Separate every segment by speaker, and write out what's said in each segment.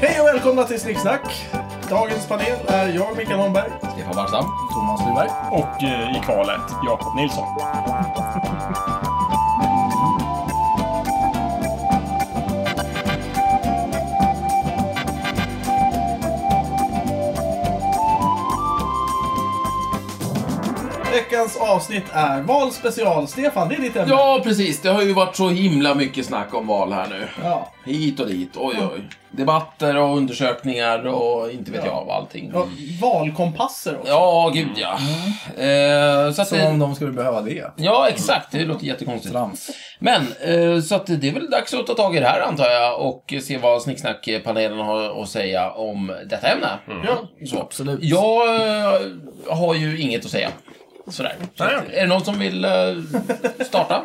Speaker 1: Hej och välkomna till Snicksnack! Dagens panel är jag, Mikael Holmberg.
Speaker 2: Stefan Barstam.
Speaker 3: Thomas Lyberg.
Speaker 4: Och eh, i kvalet, Jakob Nilsson.
Speaker 1: Veckans avsnitt är valspecial. Stefan, det är ditt ämne.
Speaker 2: Ja, precis. Det har ju varit så himla mycket snack om val här nu.
Speaker 1: Ja.
Speaker 2: Hit och dit. Oj, oj. Debatter och undersökningar och inte vet
Speaker 1: Ja.
Speaker 2: jag av allting.
Speaker 1: Ja, valkompasser också.
Speaker 2: Ja, gud ja. Eh, så att
Speaker 3: Som om
Speaker 2: det,
Speaker 3: de skulle behöva det.
Speaker 2: ja, exakt. Det låter jättekonstigt.
Speaker 3: Trams.
Speaker 2: Men, eh, så att det är väl dags att ta tag i det här antar jag och se vad Snicksnack-panelen har att säga om detta ämne.
Speaker 4: Mm.
Speaker 2: Ja, så.
Speaker 3: Absolut.
Speaker 2: Jag eh, har ju inget att säga. Sådär. Så
Speaker 4: Nej,
Speaker 2: att,
Speaker 4: okej. Mm.
Speaker 2: är det någon som vill eh, starta?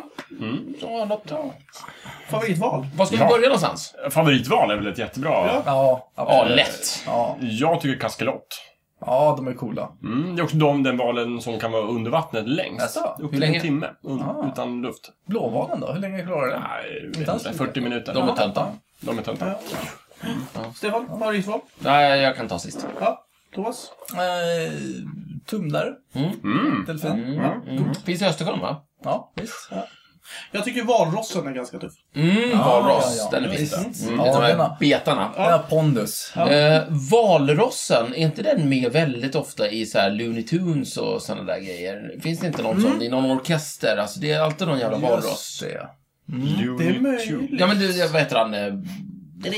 Speaker 2: Som har något?
Speaker 1: Favoritval.
Speaker 2: Var ska vi
Speaker 4: Ja.
Speaker 2: börja någonstans?
Speaker 4: Favoritval är väl ett jättebra...
Speaker 1: Ja.
Speaker 3: Ja,
Speaker 2: Ja,
Speaker 3: absolut.
Speaker 2: lätt.
Speaker 3: Ja,
Speaker 4: Jag tycker kaskelott.
Speaker 3: ja, de är coola.
Speaker 4: Mm, det är också de, den valen som kan vara under vattnet längst.
Speaker 3: Jaså?
Speaker 4: Upp
Speaker 2: Hur
Speaker 4: till en
Speaker 2: länge?
Speaker 4: timme. Un-
Speaker 3: Ah.
Speaker 4: Utan luft.
Speaker 3: Blåvalen då? Hur länge klarar den?
Speaker 4: Nej,
Speaker 3: Inte alls
Speaker 4: inte, 40 minuter.
Speaker 2: De är töntar.
Speaker 4: De är töntar.
Speaker 1: Stefan, favoritval.
Speaker 2: Nej, jag kan ta sist.
Speaker 1: Ja. Thomas?
Speaker 3: Eh, tumlare.
Speaker 4: Mm.
Speaker 3: Delfin.
Speaker 2: Mm. Mm. Finns i Östersjön va?
Speaker 3: Ja, visst. Ja,
Speaker 1: Jag tycker valrossen är ganska tuff.
Speaker 2: Mm,
Speaker 3: Ja,
Speaker 2: valross.
Speaker 3: ja, ja.
Speaker 2: Den är finns
Speaker 3: Visst.
Speaker 2: där. Mm,
Speaker 3: Ja,
Speaker 2: lite de
Speaker 3: den
Speaker 2: här
Speaker 3: har-
Speaker 2: betarna.
Speaker 1: Ja.
Speaker 3: pondus.
Speaker 1: Ja.
Speaker 2: Eh, valrossen, är inte den med väldigt ofta i så här Looney Tunes och sådana där grejer? Finns det inte någon sån i någon orkester? Alltså det är alltid någon jävla
Speaker 3: Just
Speaker 2: valross.
Speaker 3: det.
Speaker 1: Det är
Speaker 4: Looney Tunes.
Speaker 1: möjligt.
Speaker 2: Ja men du, jag- vad heter han? eh,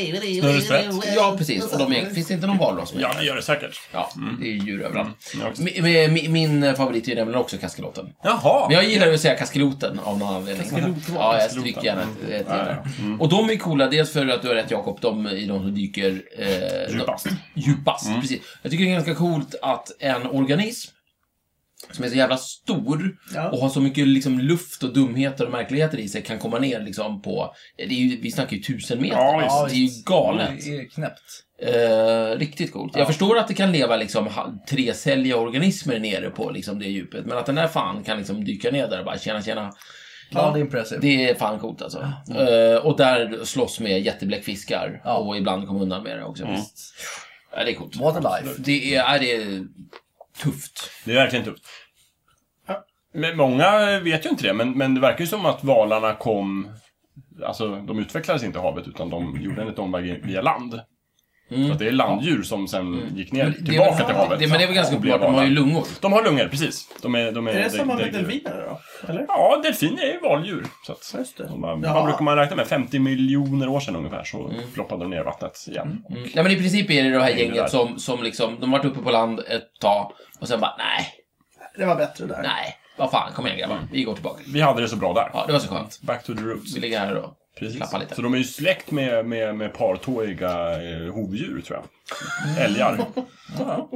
Speaker 4: Snurresprätt.
Speaker 2: Ja precis, och de är, finns det inte någon valross med?
Speaker 4: Ja, det gör det säkert.
Speaker 2: Ja, det är ju djur överallt.
Speaker 4: Ja, visst.
Speaker 2: Mi- mi- mi- Min eh, favorit är nämligen också kaskeloten.
Speaker 3: Jaha!
Speaker 2: Men jag gillar ju att säga kaskeloten av någon anledning.
Speaker 1: Kaskeloten.
Speaker 2: Ja, jag stryker gärna ett ett gärna. Och de är coola, dels för att du har rätt Jakob, de är de som dyker eh,
Speaker 4: Djupast. Mm.
Speaker 2: djupast. Precis. Jag tycker det är ganska coolt att en organism som är så jävla stor
Speaker 1: Ja.
Speaker 2: och har så mycket liksom, luft och dumheter och märkligheter i sig kan komma ner liksom på, det är ju, vi snackar ju tusen meter.
Speaker 4: Ja, visst.
Speaker 2: det är ju galet.
Speaker 3: Det är knäppt.
Speaker 2: Eh, riktigt coolt. Jag förstår att det kan leva liksom ha- trecälliga organismer nere på liksom, det djupet, men att den där fan kan liksom dyka ner där och bara tjena tjena.
Speaker 3: Ja, det är impressivt.
Speaker 2: Det är fan coolt alltså. Eh, och där slåss med jättebläckfiskar
Speaker 3: Ja.
Speaker 2: och ibland kommer undan med det också.
Speaker 4: Mm.
Speaker 2: Ja, det är coolt.
Speaker 3: What a life.
Speaker 2: Det är, ja, det är tufft.
Speaker 4: Det är verkligen tufft. Men många vet ju inte det, men, men det verkar ju som att valarna kom... Alltså, de utvecklades inte i havet, utan de gjorde en liten omväg via land.
Speaker 2: Mm.
Speaker 4: Så att det är landdjur som sen gick ner
Speaker 2: Det är
Speaker 4: tillbaka
Speaker 2: väl,
Speaker 4: till havet.
Speaker 2: Det, men det är väl ganska
Speaker 4: och blev
Speaker 2: uppenbart, de har ju
Speaker 4: valar.
Speaker 2: lungor.
Speaker 4: De har lungor, precis. De är, de är,
Speaker 1: Är det samma med
Speaker 4: däggdjur.
Speaker 1: delfiner då? Eller?
Speaker 4: Ja, delfiner är ju valdjur. Så att,
Speaker 1: Just det.
Speaker 4: de bara,
Speaker 1: Ja.
Speaker 4: Vad brukar man räkna med? 50 miljoner år sedan ungefär så ploppade de ner i vattnet igen.
Speaker 2: Mm. Nej, men i princip är det det här
Speaker 4: Hänger där.
Speaker 2: gänget som, som liksom, de har varit uppe på land ett tag och sen bara, nej,
Speaker 1: Det var bättre där.
Speaker 2: nej, vad fan, kom igen grabbar, vi går tillbaka.
Speaker 4: Vi hade det så bra där.
Speaker 2: Ja, det var så skönt.
Speaker 4: Back to the roots.
Speaker 2: Vi ligger här och
Speaker 4: Precis.
Speaker 2: klappar lite.
Speaker 4: Så de är ju släkt med, med, med partåiga eh, hovdjur, tror
Speaker 2: Mm.
Speaker 4: jag. Älgar,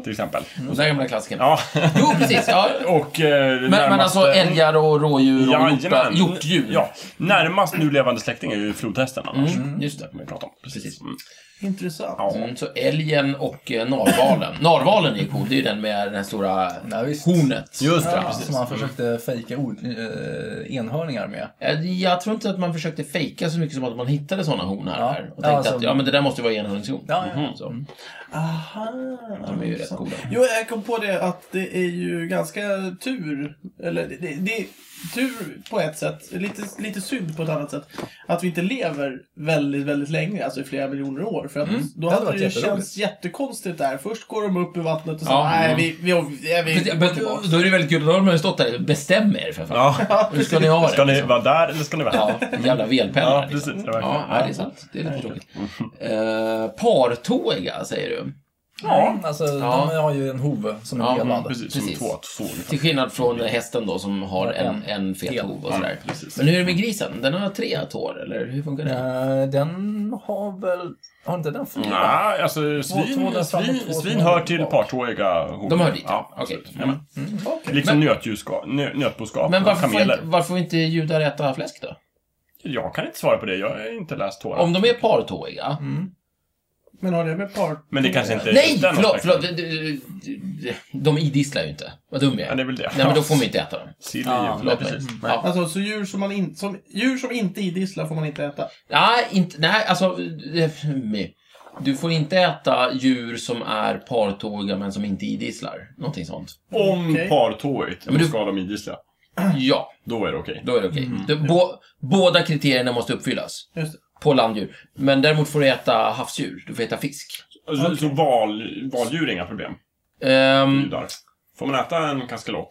Speaker 4: till exempel.
Speaker 2: Den där gamla klassikern.
Speaker 4: Ja,
Speaker 2: Jo, precis. Ja.
Speaker 4: och... Eh,
Speaker 2: Men, men alltså älgar och rådjur och hjorta-
Speaker 4: Jajamän.
Speaker 2: hjortdjur.
Speaker 4: Ja, närmast nu levande släkting är ju flodhästen annars.
Speaker 2: Mm, just det.
Speaker 4: Som vi pratar om. Precis. Mm.
Speaker 1: Intressant.
Speaker 4: Ja.
Speaker 2: Mm, så älgen och eh, narvalen. narvalen är ju cool, det är ju den med den här stora
Speaker 3: Ja, visst.
Speaker 2: hornet.
Speaker 4: Just det,
Speaker 3: Ja,
Speaker 4: precis.
Speaker 3: som han försökte fejka ord, eh, enhörningar med.
Speaker 2: Jag, Eh, jag tror inte att man försökte fejka så mycket som att man hittade sådana horn här.
Speaker 3: Ja.
Speaker 2: här. Och
Speaker 3: Ja,
Speaker 2: tänkte att
Speaker 3: alltså-
Speaker 2: ja, men det där måste ju vara enhörningshorn.
Speaker 3: Ja, ja, ja.
Speaker 2: Mhm,
Speaker 4: Mm.
Speaker 2: Så.
Speaker 1: Aha.
Speaker 2: De är ju rätt coola.
Speaker 1: Jo, jag kom på det att det är ju ganska tur, eller det, det, det är tur på ett sätt, lite, lite synd på ett annat sätt, att vi inte lever väldigt, väldigt länge, alltså i flera miljoner år. För att
Speaker 2: Mm.
Speaker 1: då
Speaker 3: Det hade
Speaker 1: hade
Speaker 3: varit
Speaker 1: det
Speaker 3: jätteroligt.
Speaker 1: känts jättekonstigt där. Först går de upp i vattnet och sen,
Speaker 2: Ja,
Speaker 1: nej,
Speaker 2: mm.
Speaker 1: vi, vi, vi, vi,
Speaker 2: Men,
Speaker 1: vi går
Speaker 2: men,
Speaker 1: tillbaka.
Speaker 2: då är det väldigt kul, då har de ju stått där bestäm er för fan.
Speaker 4: Ja.
Speaker 2: Hur ska ni ha det?
Speaker 4: Ska ni
Speaker 2: liksom?
Speaker 4: vara där eller ska ni vara här?
Speaker 2: Ja, jävla velpennor.
Speaker 4: Ja,
Speaker 2: liksom.
Speaker 4: precis. Det verkar-
Speaker 2: Ja, nej, det är sant. Det är lite tråkigt. Eh, partåiga, säger du.
Speaker 3: Ja. Alltså,
Speaker 2: Ja.
Speaker 3: de har ju en hov som är
Speaker 2: Ja,
Speaker 3: delad.
Speaker 2: mm,
Speaker 4: Precis, som
Speaker 2: Precis.
Speaker 4: två att så ungefär.
Speaker 2: Till skillnad från hästen då som har en, en fet
Speaker 3: Ja.
Speaker 2: hov och sådär.
Speaker 4: Ja, precis.
Speaker 2: Men hur är det med grisen? Den har tre tår, eller hur funkar det?
Speaker 3: Eh, den har väl... Har inte den fyra?
Speaker 4: Nej, alltså
Speaker 3: två där
Speaker 4: svin,
Speaker 3: fram och två
Speaker 4: svin,
Speaker 3: som
Speaker 4: svin
Speaker 3: håller
Speaker 4: hör till
Speaker 3: bak.
Speaker 4: partåiga horn.
Speaker 2: De hör dit,
Speaker 4: ja.
Speaker 2: ja. Okej. Mm.
Speaker 4: absolut. Jajamän. Liksom nötdjurska, nö, nötboskap
Speaker 2: Men
Speaker 4: och
Speaker 2: varför får,
Speaker 4: kameler.
Speaker 2: inte, varför får inte judar äta fläsk då?
Speaker 4: Jag kan inte svara på det, jag har inte läst tårar.
Speaker 2: Om de är partåiga?
Speaker 1: Men har det med par...
Speaker 4: Men Mm. det kanske inte
Speaker 2: Nej,
Speaker 4: just den
Speaker 2: förlåt!
Speaker 4: aspekten.
Speaker 2: förlåt. Du- du- du- De idisslar ju inte. Vad dum jag
Speaker 4: Ja,
Speaker 2: är.
Speaker 4: det är väl det.
Speaker 2: Nej, men då får man inte äta dem.
Speaker 4: Sill är
Speaker 3: Ja,
Speaker 4: ju-
Speaker 2: Förlåt
Speaker 4: nej,
Speaker 2: mig.
Speaker 4: precis.
Speaker 2: Ja.
Speaker 1: Alltså, så djur som, man in, som, djur som inte idisslar får man inte äta.
Speaker 2: Nej, inte, nej, alltså... eh, mm. Du får inte äta djur som är partåiga men som inte idisslar. Någonting sånt.
Speaker 4: Om
Speaker 1: Okej.
Speaker 4: partåigt,
Speaker 2: men
Speaker 4: då
Speaker 2: du-
Speaker 4: ska de idissla.
Speaker 2: Ja,
Speaker 4: Då är det okej.
Speaker 2: då är det okej.
Speaker 4: Mm.
Speaker 2: Det- Bå, båda kriterierna måste uppfyllas.
Speaker 1: Just det.
Speaker 2: På landdjur. Men däremot får du äta havsdjur. Du får äta fisk.
Speaker 4: Så, Alltså, så val, valdjur är inga problem.
Speaker 2: Um,
Speaker 4: Judar. Får man äta en kaskelot?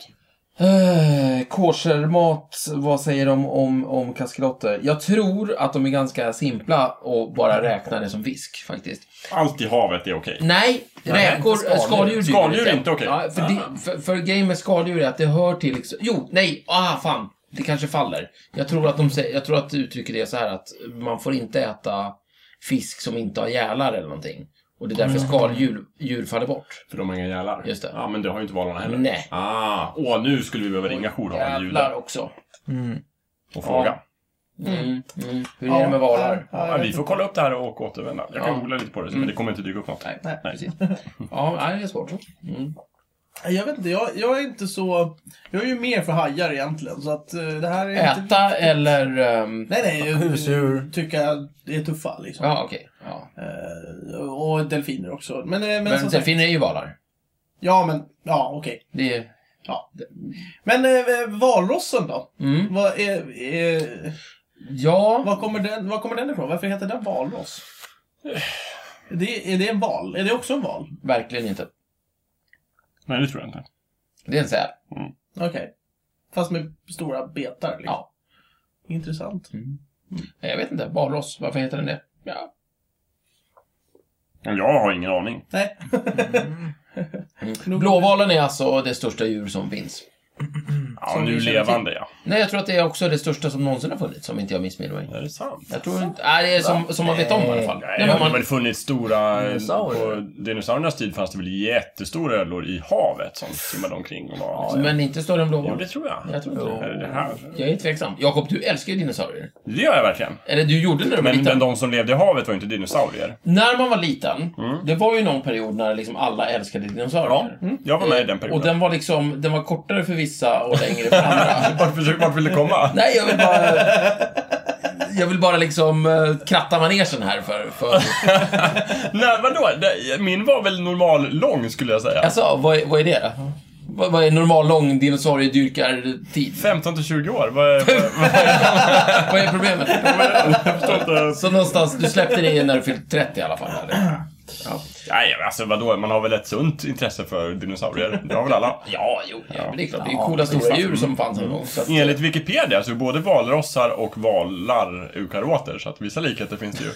Speaker 3: Eh,
Speaker 2: Koshermat, vad säger de om, om kaskelotter? Jag tror att de är ganska simpla och bara räknar det som fisk faktiskt.
Speaker 4: Allt i havet är okej.
Speaker 2: Nej, räkor,
Speaker 3: inte skaldjur.
Speaker 2: skaldjur.
Speaker 4: Skaldjur
Speaker 2: dyker
Speaker 4: är inte okej.
Speaker 2: Ja, för, det, för, för grejen med skaldjur är att det hör till... Liksom, jo, nej, ah, fan. Det kanske faller. Jag tror att de säger, jag tror att uttrycket är så här att man får inte äta fisk som inte har gälar eller någonting. Och det är därför skaldjur djur faller bort.
Speaker 4: För de har inga gälar.
Speaker 2: Just det.
Speaker 4: Ja, men det har ju inte valarna heller.
Speaker 2: Nej.
Speaker 4: Ah, åh, nu skulle vi behöva ringa jourhavande
Speaker 2: Jävlar
Speaker 4: judar
Speaker 2: också.
Speaker 3: Mm.
Speaker 4: och fråga.
Speaker 2: Mm, mm. Hur är det med valar?
Speaker 1: Ja,
Speaker 4: Ja,
Speaker 1: jag
Speaker 4: vi
Speaker 1: vet
Speaker 4: får
Speaker 1: inte.
Speaker 4: kolla upp det här och återvända. Jag kan
Speaker 2: Ja.
Speaker 4: googla lite på det, men
Speaker 2: Mm.
Speaker 4: det kommer inte dyka upp något.
Speaker 2: Nej,
Speaker 1: Nej.
Speaker 2: precis. Ja, nej, det är svårt. Mm.
Speaker 1: Jag vet inte, jag, jag är inte så... Jag är ju mer för hajar egentligen, så att eh, det här är inte...
Speaker 2: Äta eller... ehm,
Speaker 1: Nej, nej. jag-
Speaker 3: Husdjur.
Speaker 1: Tycka det är tuffa liksom.
Speaker 2: Ja, okej. Ja.
Speaker 1: Eh, och delfiner också. Men, eh, men,
Speaker 2: Men,
Speaker 1: som
Speaker 2: delfiner
Speaker 1: Sagt,
Speaker 2: är ju valar.
Speaker 1: ja, men... Ja, okej.
Speaker 2: Det är...
Speaker 1: Men eh, valrossen då?
Speaker 2: Mm.
Speaker 1: Vad, är, är,
Speaker 2: Ja.
Speaker 1: vad, kommer den, vad kommer den ifrån? Varför heter den valross?
Speaker 2: Eh.
Speaker 1: Det, är det en val? Är det också en val?
Speaker 2: Verkligen inte.
Speaker 4: Nej, det tror jag inte.
Speaker 2: Det är en säl.
Speaker 1: Okej. Fast med stora betar liksom.
Speaker 2: Ja.
Speaker 1: Intressant.
Speaker 2: Nej, Jag vet inte. Valross. Varför heter den det? Ja.
Speaker 4: Men Jag har ingen aning.
Speaker 1: Nej.
Speaker 2: Mm.
Speaker 1: Nog-
Speaker 2: Blåvalen är alltså det största djur som finns.
Speaker 4: Ja,
Speaker 1: Som
Speaker 4: nu
Speaker 1: vi känner
Speaker 4: levande, ja.
Speaker 2: Nej, jag tror att det är också det största som någonsin har funnits, om inte jag missminner mig.
Speaker 4: Är det sant?
Speaker 2: Jag tror inte... Nej, det är som, som man vet om i alla fall.
Speaker 4: Nej,
Speaker 2: Nej,
Speaker 4: det
Speaker 2: men
Speaker 4: har
Speaker 2: man,
Speaker 4: väl funnits stora...
Speaker 3: Dinosaurier.
Speaker 4: På dinosauriernas tid fanns det väl jättestora ödlor i havet som simmade omkring och var...
Speaker 2: men inte större än
Speaker 4: Jo,
Speaker 2: blåval.
Speaker 4: det tror jag.
Speaker 2: Jag tror inte det.
Speaker 4: Eller det här.
Speaker 2: Jag är tveksam. Jakob, du älskar ju dinosaurier.
Speaker 4: Det gör jag verkligen.
Speaker 2: Eller du gjorde när du var
Speaker 4: Men,
Speaker 2: liten.
Speaker 4: men de som levde i havet var ju inte dinosaurier.
Speaker 2: När man var liten, det var ju någon period när liksom alla älskade dinosaurier. Mm.
Speaker 4: Jag var med i den
Speaker 2: Och
Speaker 4: perioden.
Speaker 2: den var liksom, den var kortare för vissa och längre för andra.
Speaker 4: Vart, försöker- vart vill du komma?
Speaker 2: Nej, jag vill bara... Jag vill bara liksom eh, kratta manegen här för... för
Speaker 4: Nej, vadå? Det- Min var väl normal lång skulle jag säga.
Speaker 2: alltså, vad är, vad är det? Vad, vad är normal lång dinosauriedyrkartid?
Speaker 4: 15 till 20 år. Vad är, vad,
Speaker 2: Vad är problemet?
Speaker 4: jag förstår inte.
Speaker 2: Så någonstans, du släppte det när du fyllt 30 i alla fall? Eller?
Speaker 4: Nej, alltså vadå? Man har väl ett sunt intresse för dinosaurier? Det har väl alla?
Speaker 2: Ja, jo, ja, men det är klart. Det är Mm. ju coola stora djur som fanns en gång. Så att,
Speaker 4: Enligt Wikipedia så är både valrossar och valar eukaryoter, så att vissa likheter finns det ju.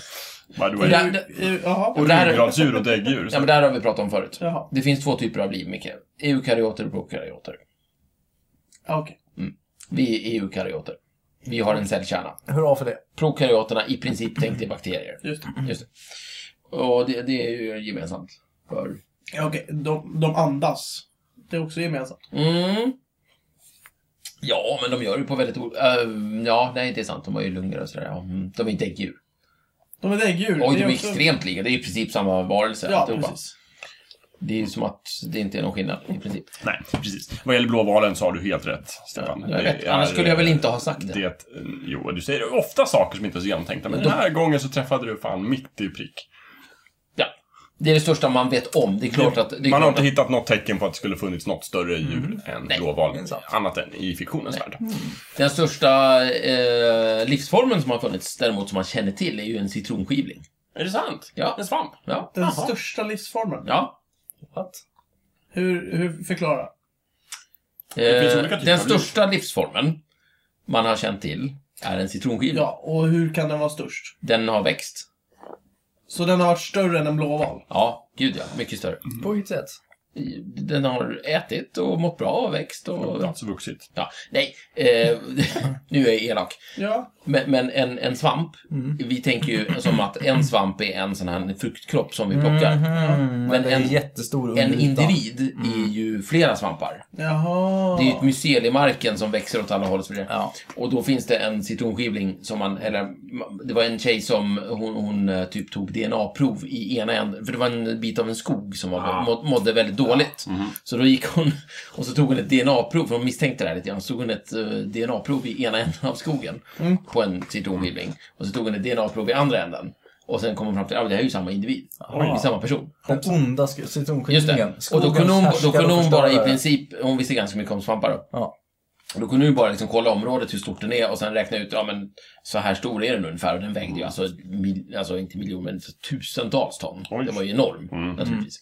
Speaker 4: By the way.
Speaker 2: Ja.
Speaker 1: Eh, Jaha.
Speaker 2: och där,
Speaker 4: Ryggradsdjur och däggdjur.
Speaker 2: ja,
Speaker 4: Så.
Speaker 2: men där har vi pratat om förut.
Speaker 1: Jaha.
Speaker 2: Det finns två typer av liv, Micke. Eukaryoter och prokaryoter.
Speaker 1: Ja, Okej.
Speaker 2: Vi är eukaryoter. Vi har en cellkärna.
Speaker 3: Hurra för det.
Speaker 2: Prokaryoterna, i princip, tänkte bakterier. Mm.
Speaker 1: Just det.
Speaker 2: Just det. Och det, det är ju gemensamt för...
Speaker 1: Ja, Okej, de, de andas. Det är också gemensamt.
Speaker 2: Mm. Ja, men de gör ju på väldigt olika... ja, nej, det är sant. De har ju lungor och sådär. Ja, mm. De är inte äggdjur.
Speaker 1: De är däggdjur. Det
Speaker 2: Oj, de är
Speaker 1: också-
Speaker 2: extremt lika. Det är ju i princip samma varelse.
Speaker 1: Ja,
Speaker 2: alltihopa.
Speaker 1: precis.
Speaker 2: Det är ju som att det inte är någon skillnad i princip.
Speaker 4: Nej, precis. Vad gäller blåvalen så har du helt rätt, Stefan.
Speaker 2: Jag
Speaker 4: Det
Speaker 2: vet. Annars
Speaker 4: är- eh,
Speaker 2: skulle jag väl inte ha sagt det.
Speaker 4: Det, jo, du säger ofta saker som inte är så genomtänkta, men den här gången så träffade du fan mitt i prick.
Speaker 2: Ja. Det är det största man vet om. Det är klart att... Det är
Speaker 4: Man har
Speaker 2: klart
Speaker 4: inte hittat något tecken på att det skulle funnits något större djur än
Speaker 2: Nej,
Speaker 4: blåval,
Speaker 3: det är sant.
Speaker 4: annat än i fiktionens värld.
Speaker 2: att den största eh, livsformen som har funnits, däremot som man känner till, är ju en citronskivling.
Speaker 4: Är det sant?
Speaker 2: Ja.
Speaker 4: En svamp?
Speaker 2: Ja.
Speaker 1: Den
Speaker 4: Jaha.
Speaker 1: största livsformen.
Speaker 2: Ja.
Speaker 3: What?
Speaker 1: Hur, hur förklara?
Speaker 4: Det finns
Speaker 2: Eh,
Speaker 4: olika typer
Speaker 2: den
Speaker 4: av liv.
Speaker 2: största livsformen man har känt till är en citronskiva.
Speaker 1: Ja, och hur kan den vara störst?
Speaker 2: Den har växt.
Speaker 1: Så den har varit större än en blåval?
Speaker 2: Ja, gud ja. Mycket större.
Speaker 3: På vilket sätt?
Speaker 2: Den har ätit och mått bra och växt och...
Speaker 4: Alltså vuxit.
Speaker 2: Ja, nej. Eh, nu är jag elak.
Speaker 1: Ja.
Speaker 2: Men, men en, en svamp,
Speaker 4: Mm.
Speaker 2: vi tänker ju som att en svamp är en sån här fruktkropp som vi plockar. Men
Speaker 4: Mhm.
Speaker 3: Men en
Speaker 2: en-
Speaker 3: jättestor
Speaker 2: En
Speaker 3: underyta.
Speaker 2: individ är ju flera svampar.
Speaker 1: Jaha.
Speaker 2: Det är ju ett mycel i marken som växer åt alla håll och så vidare.
Speaker 3: Ja.
Speaker 2: Och då finns det en citronskivling som man, eller ma- det var en tjej som hon, hon eh, typ tog DNA-prov i ena änden, för det var en bit av en skog som var, må, mådde väldigt dåligt. Så då gick hon och så tog hon ett DNA-prov, för hon misstänkte det här lite grann, så tog hon ett eh, DNA-prov i ena änden av skogen på en citronskivling. Och så tog hon ett DNA-prov i andra änden. Och sen kom hon fram till att ah, det här är ju samma individ. Det är ju samma person.
Speaker 3: Den onda sk-
Speaker 2: Just
Speaker 3: citronskivlingen.
Speaker 2: det. Och då kunde hon, då kunde hon bara i
Speaker 3: förstörare.
Speaker 2: princip, hon visste ganska mycket om svampar då.
Speaker 3: Ja.
Speaker 2: Då kunde hon ju bara liksom kolla området, hur stort den är och sen räkna ut, ja men så här stor är den ungefär. Och den vägde ju alltså, mil, alltså inte miljoner, men tusentals ton.
Speaker 4: Oj.
Speaker 2: Det var ju enorm,
Speaker 4: Mm.
Speaker 2: naturligtvis.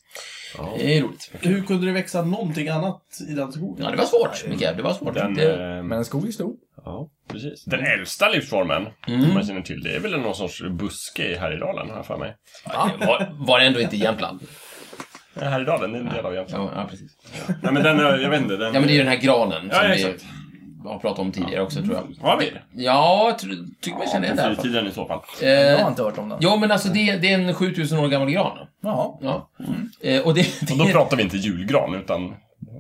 Speaker 2: Det är roligt.
Speaker 1: Hur kunde det växa någonting annat i den skogen?
Speaker 2: Ja, det var svårt, Mikael. Det var svårt.
Speaker 4: Den,
Speaker 2: det,
Speaker 4: eh,
Speaker 3: Men en skog är stor.
Speaker 4: ja, precis. den
Speaker 2: Mm.
Speaker 4: äldsta livsformen, som man känner till, det är väl någon sorts buske i Härjedalen, har jag för mig.
Speaker 2: var, var det ändå inte i Jämtland?
Speaker 4: Ja, Härjedalen, det är en del av Jämtland.
Speaker 2: Ja, ja, precis.
Speaker 4: Nej, men den, är- jag vet inte. Den,
Speaker 2: Ja, men det är ju den här granen som
Speaker 4: Ja, ja,
Speaker 2: vi
Speaker 4: exakt. Mm.
Speaker 2: har pratat om tidigare också, tror jag.
Speaker 4: Har vi det?
Speaker 2: Ja, jag tror- tycker man känner igen det i alla
Speaker 4: På
Speaker 2: fall.
Speaker 4: fritiden i så fall.
Speaker 3: Jag
Speaker 2: Eh,
Speaker 3: har inte hört om den.
Speaker 2: Jo, men alltså det, det är en 7000 år gammal gran.
Speaker 3: Jaha.
Speaker 2: Ja. Eh, och det, det
Speaker 4: Mm. Och då pratar vi inte julgran, utan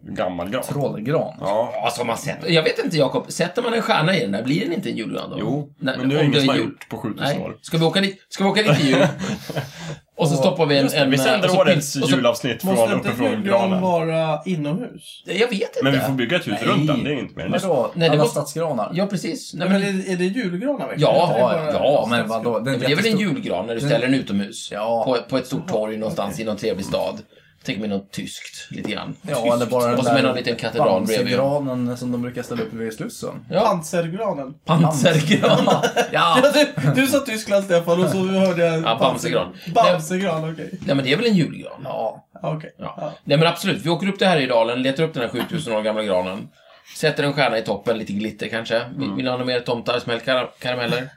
Speaker 4: gammal gran.
Speaker 3: Trollgran.
Speaker 4: Ja.
Speaker 2: Ja, som man sett. Jag vet inte, Jakob. Sätter man en stjärna i den där, blir den inte en julgran då?
Speaker 4: Jo,
Speaker 2: Nej,
Speaker 4: men det är
Speaker 2: om
Speaker 4: ingen som har
Speaker 2: jul.
Speaker 4: gjort på 7000
Speaker 2: Nej.
Speaker 4: år.
Speaker 2: Ska vi åka dit? Ska vi åka dit till jul? och så stoppar vi en... en
Speaker 4: Vi
Speaker 2: eh, och
Speaker 4: sänder
Speaker 2: så
Speaker 4: årets
Speaker 2: pil- och så-
Speaker 4: julavsnitt från
Speaker 1: Måste inte
Speaker 4: uppifrån
Speaker 1: julgran
Speaker 4: granen.
Speaker 1: vara inomhus?
Speaker 2: Jag vet inte.
Speaker 4: Men vi får bygga ett hus
Speaker 3: Nej.
Speaker 4: runt den, det är inget mer än det.
Speaker 3: Vadå?
Speaker 2: Nej, det
Speaker 3: Alla
Speaker 2: var-
Speaker 3: stadsgranar?
Speaker 2: Ja, precis. Nej, men,
Speaker 1: Men är, är det julgranar verkligen?
Speaker 2: Ja,
Speaker 1: Eller är det bara-
Speaker 2: ja,
Speaker 3: men vadå? Den
Speaker 2: det är väl en
Speaker 3: jättestor-
Speaker 2: julgran när du ställer den utomhus?
Speaker 3: Ja.
Speaker 2: På, på ett stort torg någonstans i någon trevlig stad. Tänk mig något tyskt, lite grann.
Speaker 3: Ja, eller bara
Speaker 2: Och
Speaker 3: den
Speaker 2: så med
Speaker 3: där
Speaker 2: någon liten katedral bredvid.
Speaker 3: Bamsegranen som de brukar ställa upp vid Slussen.
Speaker 2: Ja,
Speaker 1: Pansergranen.
Speaker 2: pansergran.
Speaker 1: Ja,
Speaker 2: ja.
Speaker 1: du, du sa Tyskland, Stefan, och så hörde jag...
Speaker 2: Ja, Bamsegran.
Speaker 1: Bamsegran, okej.
Speaker 2: Nej, men det är väl en julgran?
Speaker 3: Ja.
Speaker 1: Ja, okej.
Speaker 2: Ja. Nej men absolut, vi åker upp till Härjedalen, letar upp den här 7000 år gamla granen. Sätter en stjärna i toppen, lite glitter kanske. Vi-
Speaker 1: Mm.
Speaker 2: Vill ni ha några mer tomtar, smält kar- karameller?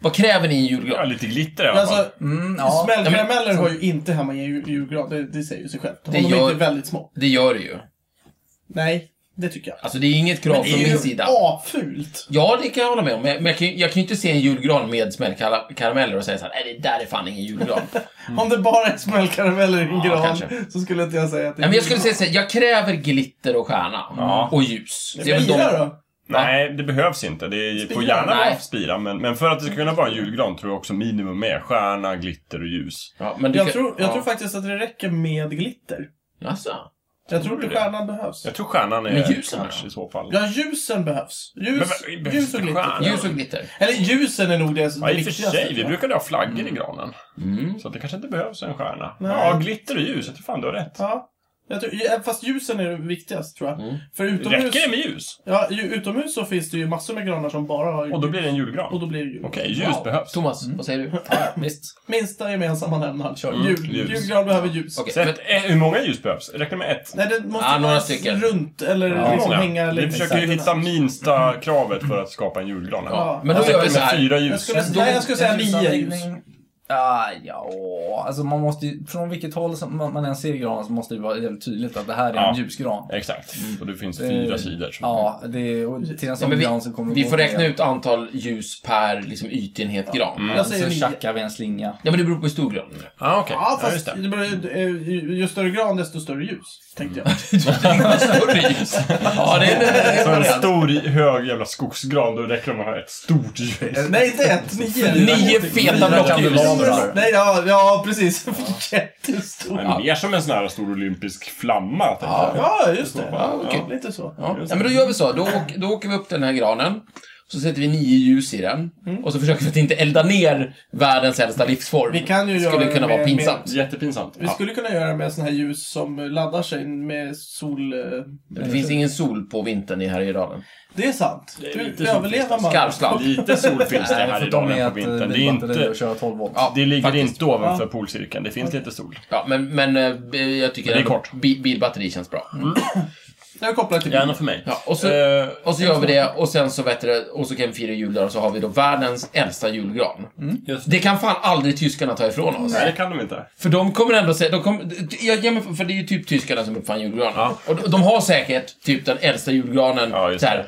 Speaker 2: Vad kräver ni i en
Speaker 4: Ja,
Speaker 2: julgran?
Speaker 4: lite glitter i
Speaker 1: Men
Speaker 4: alla fall.
Speaker 1: alltså,
Speaker 3: Mm, ja.
Speaker 1: smällkarameller hör ju inte hemma i en jul- julgran. Det, det säger ju sig självt. Om
Speaker 2: Det
Speaker 1: de
Speaker 2: gör-
Speaker 1: inte är väldigt små.
Speaker 2: Det gör det ju.
Speaker 1: Nej, det tycker jag.
Speaker 2: Alltså det är inget krav
Speaker 1: det
Speaker 2: från
Speaker 1: är
Speaker 2: min
Speaker 1: ju
Speaker 2: sida.
Speaker 1: apfult.
Speaker 2: Ja, det kan jag hålla med om. Men jag, men jag, kan, ju- jag kan ju inte se en julgran med smällkarameller och säga såhär, nej det där är fan ingen julgran.
Speaker 1: Om det bara är smällkarameller i en
Speaker 2: Mm. Ja,
Speaker 1: gran
Speaker 2: kanske.
Speaker 1: så skulle inte jag säga att det är
Speaker 2: nej, men jag skulle
Speaker 1: julgran.
Speaker 2: säga såhär, jag kräver glitter och stjärna.
Speaker 4: Ja.
Speaker 2: Och ljus. Det
Speaker 1: Men gillar då?
Speaker 4: Nej, det behövs inte. Det är, får
Speaker 1: Spira?
Speaker 4: gärna vara
Speaker 2: Nej.
Speaker 4: spira, men, men för att det ska kunna vara en julgran tror jag också minimum är stjärna, glitter och ljus.
Speaker 2: Ja, men du
Speaker 1: Jag,
Speaker 2: kan-
Speaker 1: tror, jag
Speaker 2: ja.
Speaker 1: tror faktiskt att det räcker med glitter.
Speaker 2: Jaså?
Speaker 1: Jag tror
Speaker 4: du
Speaker 1: inte
Speaker 4: det?
Speaker 1: stjärnan behövs.
Speaker 4: Jag tror stjärnan är...
Speaker 2: Men ljusen
Speaker 4: kanske
Speaker 2: då?
Speaker 4: i så fall.
Speaker 1: Ja, ljusen behövs. Ljus,
Speaker 4: Men- men-
Speaker 1: ljus och glitter.
Speaker 4: stjärna?
Speaker 2: Ljus och glitter.
Speaker 1: Eller ljusen är nog det som
Speaker 4: Ja,
Speaker 1: är
Speaker 4: i och för
Speaker 1: viktigast.
Speaker 4: sig. Vi brukade ha flaggor i granen.
Speaker 2: Mm.
Speaker 4: Så att det kanske inte behövs en stjärna.
Speaker 1: Nej.
Speaker 4: Ja, glitter och ljus. Jag tror fan du har rätt.
Speaker 1: Ja. Jag tror, ja, fast ljusen är det viktigast, tror jag.
Speaker 2: Mm.
Speaker 1: För utomhus,
Speaker 4: Räcker det med ljus?
Speaker 1: ja, ju, utomhus så finns det ju massor med granar som bara har
Speaker 4: Och då blir det en julgran.
Speaker 1: och då
Speaker 4: Okej,
Speaker 1: blir det jul.
Speaker 4: ljus behövs.
Speaker 2: Thomas, vad säger du?
Speaker 3: Ja, visst.
Speaker 1: Minsta gemensamma nämnaren. Kör.
Speaker 4: Mm,
Speaker 1: Jul.
Speaker 4: ljus.
Speaker 1: Julgran behöver ljus.
Speaker 2: Okej,
Speaker 4: Sätt,
Speaker 2: men-
Speaker 4: eh, hur många ljus behövs? Räcker det med ett?
Speaker 1: Nej, det måste
Speaker 2: Ja,
Speaker 1: vara
Speaker 2: några stycken.
Speaker 1: runt eller
Speaker 4: Hur
Speaker 1: liksom
Speaker 4: många?
Speaker 1: hänga
Speaker 4: Vi
Speaker 1: lite.
Speaker 4: försöker ju hitta minsta kravet för att skapa en julgran. här.
Speaker 1: Ja.
Speaker 2: Men då
Speaker 4: Sätter
Speaker 2: gör vi så
Speaker 4: med
Speaker 2: här.
Speaker 4: fyra
Speaker 1: Jag
Speaker 4: ljus.
Speaker 1: skulle, nej, jag skulle säga nio ljus.
Speaker 3: ljusanläggning. Ah, ja, alltså man måste ju, från vilket håll som man, man än ser granen så måste det vara jävligt tydligt att det här är
Speaker 4: Ja.
Speaker 3: en ljusgran.
Speaker 4: Exakt.
Speaker 1: Mm.
Speaker 4: Och det finns
Speaker 3: Eh,
Speaker 4: fyra sidor. så-
Speaker 3: Ja, det är, och till en
Speaker 2: Ja,
Speaker 3: sån
Speaker 2: men
Speaker 3: gran så
Speaker 2: vi,
Speaker 3: kommer det
Speaker 2: vi
Speaker 3: gå
Speaker 2: får
Speaker 3: åt
Speaker 2: räkna
Speaker 3: det.
Speaker 2: ut antal ljus per liksom, ytenhet gran.
Speaker 4: Mm.
Speaker 1: Jag
Speaker 3: Och
Speaker 1: säger
Speaker 3: så
Speaker 1: nio.
Speaker 3: tjackar vi Alltså, en slinga.
Speaker 2: Ja, men det beror på hur stor gran den är.
Speaker 4: Ah, okej.
Speaker 1: Ja,
Speaker 4: ja, just
Speaker 1: fast
Speaker 4: det.
Speaker 1: det beror ju- eh, ju, ju större gran, desto större ljus. Tänkte jag.
Speaker 2: Större ljus. Ja, det är det är
Speaker 4: Så en
Speaker 2: variant.
Speaker 4: stor, hög jävla skogsgran, då räcker det med att ha ett stort ljus.
Speaker 1: nej, inte ett. Nio.
Speaker 2: Mm. Nio feta
Speaker 3: Fyra
Speaker 2: blockljus.
Speaker 3: kandelabrar.
Speaker 1: Nej, ja, ja precis. Jättestor.
Speaker 4: Men mer som en sån här stor olympisk flamma, tänkte jag.
Speaker 1: Ja, just det.
Speaker 4: Ja,
Speaker 2: okej.
Speaker 1: Ja, lite så.
Speaker 2: Ja, ja, men då gör vi så. Då, åk, då åker vi upp till den här granen. Så sätter vi nio ljus i den. Och så försöker vi att inte elda ner världens äldsta livsform.
Speaker 1: Mm. Vi kan ju
Speaker 2: Skulle
Speaker 1: göra
Speaker 2: kunna
Speaker 1: med-
Speaker 2: vara pinsamt.
Speaker 4: Jättepinsamt.
Speaker 1: Vi skulle kunna göra med sån här ljus som laddar sig med sol... eh,
Speaker 2: Det finns ingen sol på vintern i Härjedalen.
Speaker 1: Det är sant.
Speaker 4: Det är lite
Speaker 1: Hur
Speaker 4: som
Speaker 1: överlever man?
Speaker 2: Skarpsladd.
Speaker 4: Lite sol finns det
Speaker 3: Nej,
Speaker 4: här
Speaker 3: vi får
Speaker 4: i
Speaker 3: ta med
Speaker 4: dalen på
Speaker 3: ett
Speaker 2: eh,
Speaker 4: vintern. Det, är
Speaker 3: bilbatteri och
Speaker 4: inte, Ah,
Speaker 3: köra 12 volt.
Speaker 2: Ja,
Speaker 4: det ligger
Speaker 2: faktiskt.
Speaker 4: inte ovanför polcirkeln. Det finns lite sol.
Speaker 2: Ja, men, men eh, jag tycker
Speaker 4: Det är
Speaker 2: ändå
Speaker 4: kort.
Speaker 2: bi- bilbatteri känns bra.
Speaker 1: Jag kopplar till
Speaker 4: Gärna för mig.
Speaker 2: Ja, och så-
Speaker 4: Eh,
Speaker 2: Och så gör vi det och sen så vet du, det, och så kan vi fira jul där och så har vi då världens äldsta julgran.
Speaker 4: Mm. just
Speaker 2: Det kan fan aldrig tyskarna ta ifrån oss.
Speaker 4: Nej, det kan de inte.
Speaker 2: För de kommer ändå säga, de kommer, jag ger mig, för det är ju typ tyskarna som uppfann julgranen.
Speaker 4: Ja.
Speaker 2: Och de, de har säkert typ den äldsta julgranen
Speaker 4: Ja, just
Speaker 2: så här,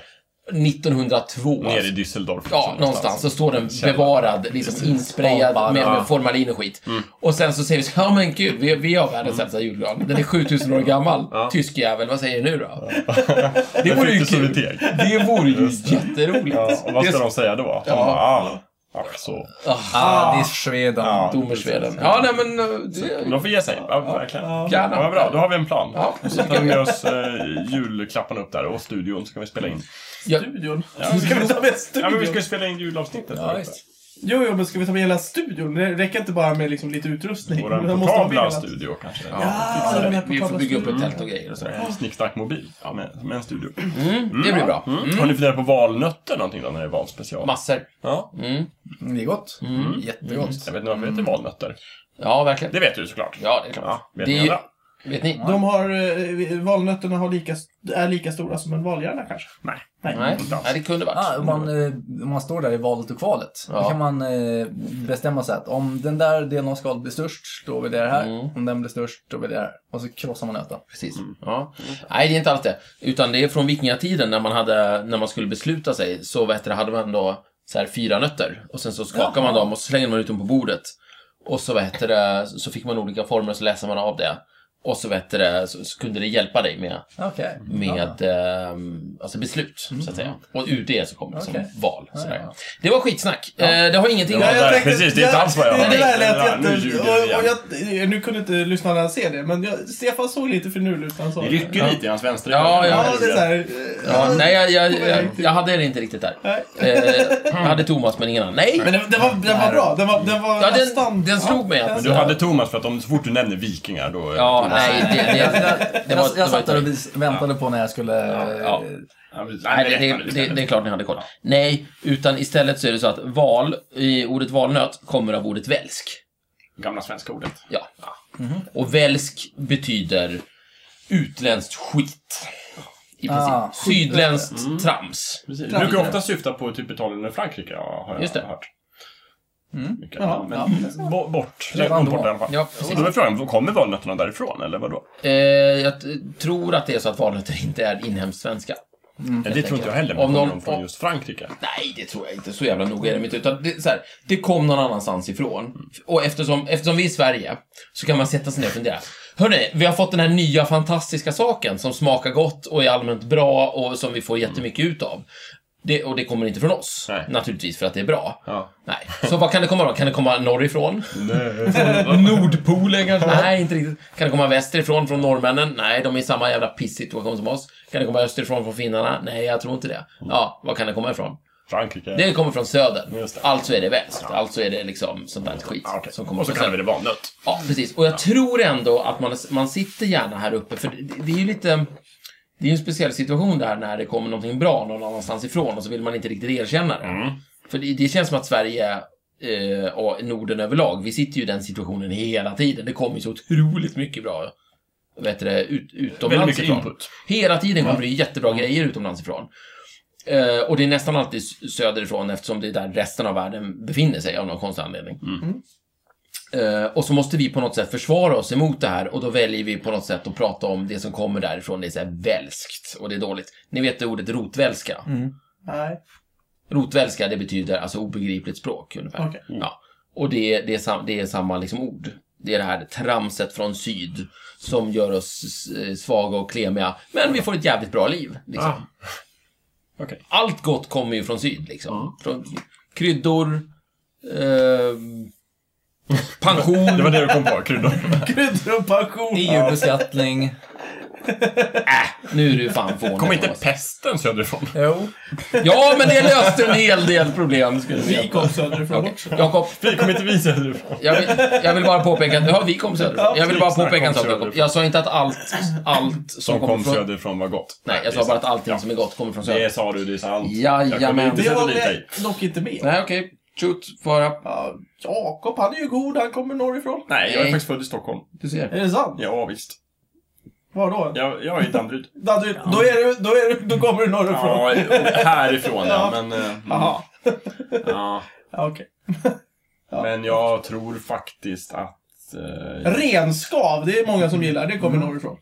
Speaker 2: 1902.
Speaker 4: Nere i
Speaker 2: alltså.
Speaker 4: Düsseldorf. liksom,
Speaker 2: Ja, någonstans. Så står den bevarad, liksom insprejad
Speaker 3: Skapad,
Speaker 2: med,
Speaker 4: ja. Mm.
Speaker 2: med formalin och skit. Och sen så säger vi så här, ja men gud, vi, vi har världens äldsta julgran. Den är 7000 år gammal. Tysk jävel, vad säger du nu då? Det
Speaker 4: Det
Speaker 2: vore ju kul.
Speaker 4: solitär.
Speaker 2: Det vore ju jätteroligt.
Speaker 4: Ja, och vad ska de säga då? De bara, ah, ah, så.
Speaker 3: Ah, det är Sweden.
Speaker 4: Ja.
Speaker 2: Domersveden. Ja, nej men... eh, Det,
Speaker 4: De får ge sig. Ja, verkligen.
Speaker 2: Gärna.
Speaker 4: Ja, vad bra, då har vi en plan.
Speaker 2: Ja,
Speaker 4: Så tar vi med oss eh, julklapparna upp där och studion så kan vi spela in.
Speaker 2: jag,
Speaker 1: studion. Ska vi ta med
Speaker 4: Ja, men
Speaker 1: studion?
Speaker 4: vi ska ju spela in julavsnittet.
Speaker 3: Ja, visst.
Speaker 1: Jo, jo, men ska vi ta med hela studion? Det räcker inte bara med liksom lite utrustning.
Speaker 4: Våran
Speaker 1: Man måste ha med
Speaker 4: portabla
Speaker 1: hela-
Speaker 4: studio kanske.
Speaker 1: Ja, den här
Speaker 2: vi, vi får
Speaker 1: portabla
Speaker 2: bygga upp
Speaker 1: studion.
Speaker 2: ett tält och grejer och sådär.
Speaker 4: En Snicksnack mobil med, med en studio.
Speaker 2: Mm, det blir bra.
Speaker 4: Mm. Har ni funderat på valnötter någonting då när det är valspecial?
Speaker 2: Massor.
Speaker 4: ja.
Speaker 2: Mm.
Speaker 3: Mm, Det är gott. Jättegott.
Speaker 4: Jag vet inte varför det heter valnötter.
Speaker 2: Ja, verkligen.
Speaker 4: Det vet du såklart.
Speaker 2: Mm. Ja, det är klart.
Speaker 4: Ja, vet
Speaker 2: Det
Speaker 4: ni
Speaker 2: är ju-
Speaker 4: andra?
Speaker 2: Vet ni?
Speaker 1: De har, eh, valnötterna har lika, är lika stora som en valhjärna kanske.
Speaker 4: Nej.
Speaker 1: Nej.
Speaker 2: Nej,
Speaker 4: Inte alls.
Speaker 2: Nej det kunde
Speaker 1: Ah,
Speaker 3: Ja,
Speaker 2: varit.
Speaker 3: om man, eh, om man står där i valet och kvalet.
Speaker 2: Ja.
Speaker 3: Då kan man eh, bestämma sig att om den där delen av skalet blir störst, då vill jag det här. Om den blir störst, då vill jag det här. Och så krossar man nöten.
Speaker 2: Precis. Ja. Nej, det är inte alls det. Utan det är från vikingatiden när man, hade, när man skulle besluta sig, så vet du, hade man då så här fyra nötter. Och sen så skakar man dem och så slänger man ut dem på bordet. Och så, vet du, så fick man olika former och så läser man av det. Och så, vet du, så, så kunde det hjälpa dig med,
Speaker 3: Ah, Okej.
Speaker 2: med ehm, alltså beslut, så att säga. Och ur det så kommer det som
Speaker 3: Okej.
Speaker 2: val. Sådär.
Speaker 3: Ja, ja.
Speaker 2: Det var skitsnack. Eh, det har ingenting
Speaker 4: Det var
Speaker 2: med...
Speaker 4: där- precis, det är inte alls vad jag
Speaker 1: Det, det
Speaker 2: har.
Speaker 1: där lät
Speaker 4: Nej, nu
Speaker 1: jätte...
Speaker 4: ljuger du
Speaker 1: och, och
Speaker 4: igen.
Speaker 1: jag, nu kunde inte lyssnarna se det, men jag, Stefan såg lite finurlig ut när han sa
Speaker 4: Det
Speaker 1: det.
Speaker 4: rycker lite i hans vänstra
Speaker 2: Ja,
Speaker 1: Ja, det är såhär...
Speaker 2: Ja, nej, jag, jag,
Speaker 1: på väg
Speaker 2: jag,
Speaker 1: till-
Speaker 2: jag hade det inte riktigt där.
Speaker 1: Nej.
Speaker 2: Eh, jag hade Thomas, men ingen annan. Nej!
Speaker 1: Men den, den, var, den var bra. Den var, den var
Speaker 2: Ja, den,
Speaker 1: nästan...
Speaker 2: den slog mig.
Speaker 1: Ja,
Speaker 2: att-
Speaker 4: Men du hade Thomas för att om, så fort du nämner vikingar då...
Speaker 2: Ja, nej, det, det,
Speaker 3: Jag, jag,
Speaker 2: det, det var...
Speaker 3: jag,
Speaker 2: Det var
Speaker 3: satt där och
Speaker 2: inte-
Speaker 3: vis, väntade på när jag skulle...
Speaker 2: ja.
Speaker 3: eh,
Speaker 4: Ja, precis.
Speaker 2: Nej,
Speaker 4: nej,
Speaker 2: det, det, det är klart ni hade koll. Nej, utan istället så är det så att val, i ordet valnöt, kommer av ordet välsk.
Speaker 4: Gamla svenska ordet.
Speaker 2: Ja. Och välsk betyder utländskt skit. I princip.
Speaker 3: Ah, skit.
Speaker 2: Sydländskt trams.
Speaker 4: Precis. Det brukar ofta syfta på typ Italien och Frankrike, ja, har jag
Speaker 2: Just det.
Speaker 4: hört.
Speaker 3: Mm.
Speaker 4: Mycket.
Speaker 1: Ja,
Speaker 4: men, bo- bort.
Speaker 3: Redan
Speaker 4: Långt
Speaker 3: då.
Speaker 4: bort i alla fall.
Speaker 2: Ja, precis.
Speaker 4: Och då är frågan, kommer valnötterna därifrån eller vadå?
Speaker 2: Eh, jag t- tror att det är så att valnötter inte är inhemskt svenska.
Speaker 4: Ja, det tror inte jag heller,
Speaker 2: Mm, Om
Speaker 4: men
Speaker 2: någon-
Speaker 4: kommer de från just Frankrike?
Speaker 2: Nej, det tror jag inte. Så jävla noga är det inte. Utan det, så här, det kom någon annanstans ifrån. Och eftersom, eftersom vi är i Sverige så kan man sätta sig ner och fundera. Hörrni, vi har fått den här nya fantastiska saken som smakar gott och är allmänt bra och som vi får jättemycket ut av. Det, och det kommer inte från oss,
Speaker 4: Nej.
Speaker 2: naturligtvis, för att det är bra.
Speaker 4: Ja.
Speaker 2: Nej. Så vad kan det komma då? Kan det komma norrifrån?
Speaker 4: Nej.
Speaker 2: Nordpolen kanske? Nej, inte riktigt. Kan det komma västerifrån från norrmännen? Nej, de är i samma jävla pissituation som oss. Kan det komma österifrån från finnarna? Nej, jag tror inte det. Ja, var kan det komma ifrån?
Speaker 4: Frankrike.
Speaker 2: Det kommer från söder.
Speaker 4: Just det.
Speaker 2: Alltså är det väst. Alltså är det liksom sånt där skit
Speaker 4: Ja, okej.
Speaker 2: som kommer
Speaker 4: och så
Speaker 2: från
Speaker 4: kallar vi
Speaker 2: söder.
Speaker 4: det valnöt.
Speaker 2: Ja, precis. Och jag tror ändå att man, man sitter gärna här uppe, för det, det är ju lite... Det är ju en speciell situation där när det kommer någonting bra någon annanstans ifrån och så vill man inte riktigt erkänna
Speaker 4: Mm.
Speaker 2: det. För det, det känns som att Sverige eh, och Norden överlag, vi sitter ju i den situationen hela tiden. Det kommer ju så otroligt mycket bra vet du, det, ut,
Speaker 4: Väldigt
Speaker 2: utomlands
Speaker 4: mycket
Speaker 2: ifrån.
Speaker 4: input.
Speaker 2: Hela tiden kommer det ju jättebra grejer utomlands ifrån. Eh, och det är nästan alltid s- söderifrån eftersom det är där resten av världen befinner sig av någon konstig anledning. Eh, och så måste vi på något sätt försvara oss emot det här och då väljer vi på något sätt att prata om det som kommer därifrån. Det är så här välskt och det är dåligt. Ni vet det ordet rotvälska?
Speaker 1: Nej.
Speaker 2: Rotvälska, det betyder alltså obegripligt språk ungefär.
Speaker 1: Okej.
Speaker 2: Ja. Och det, det, är sam, det är samma liksom ord. Det är det här tramset från syd som gör oss s- svaga och klemiga, men vi får ett jävligt bra liv.
Speaker 4: Ah.
Speaker 2: Liksom.
Speaker 4: Okej.
Speaker 2: Allt gott kommer ju från syd, liksom. Från kryddor, eh,
Speaker 4: Det
Speaker 2: pension,
Speaker 4: var det du kom på, kryddor.
Speaker 1: Kryddor och passion.
Speaker 3: EU-beskattning.
Speaker 2: Äh, nu är du fan fånig.
Speaker 4: Kom inte
Speaker 2: Thomas.
Speaker 4: pesten söderifrån?
Speaker 3: Jo.
Speaker 2: Ja, men det löste en hel del problem, skulle
Speaker 1: Vi
Speaker 2: vi
Speaker 1: kom söderifrån också.
Speaker 2: Jakob,
Speaker 4: Vi kom inte vi söderifrån?
Speaker 2: Jag vill, jag vill bara påpeka, ja vi kom söderifrån. Jag vill bara påpeka en sak Jakob. Jag sa inte att allt, allt som,
Speaker 4: Som
Speaker 2: kommer
Speaker 4: kom
Speaker 2: från...
Speaker 4: söderifrån var gott.
Speaker 2: Nej, jag
Speaker 4: det
Speaker 2: sa
Speaker 4: är
Speaker 2: bara
Speaker 4: sant.
Speaker 2: att allting som är gott kommer från
Speaker 4: Det
Speaker 2: söder.
Speaker 4: sa du, det är sant. Jag kommer
Speaker 2: Jajamän.
Speaker 4: inte
Speaker 1: Det
Speaker 4: sätta
Speaker 1: håller
Speaker 4: dit dig.
Speaker 1: jag dock inte med.
Speaker 2: Nej, okej. Shoot, få höra.
Speaker 1: Ja, Jakob, han är ju god. Han kommer norrifrån.
Speaker 4: Nej, jag är
Speaker 2: Nej.
Speaker 4: faktiskt född i Stockholm.
Speaker 2: Du ser.
Speaker 1: Är det sant?
Speaker 4: Ja, visst.
Speaker 1: Var då?
Speaker 4: Jag, jag är i Danderyd.
Speaker 1: Danderyd, Då, är du, då, är du, då kommer du norrifrån.
Speaker 4: Ja, härifrån ja, men... eh,
Speaker 1: Jaha.
Speaker 4: Ja,
Speaker 1: Ja, okej.
Speaker 4: men jag tror faktiskt att... eh,
Speaker 1: Renskav, det är många som gillar. Det kommer
Speaker 4: Mm.
Speaker 1: norrifrån.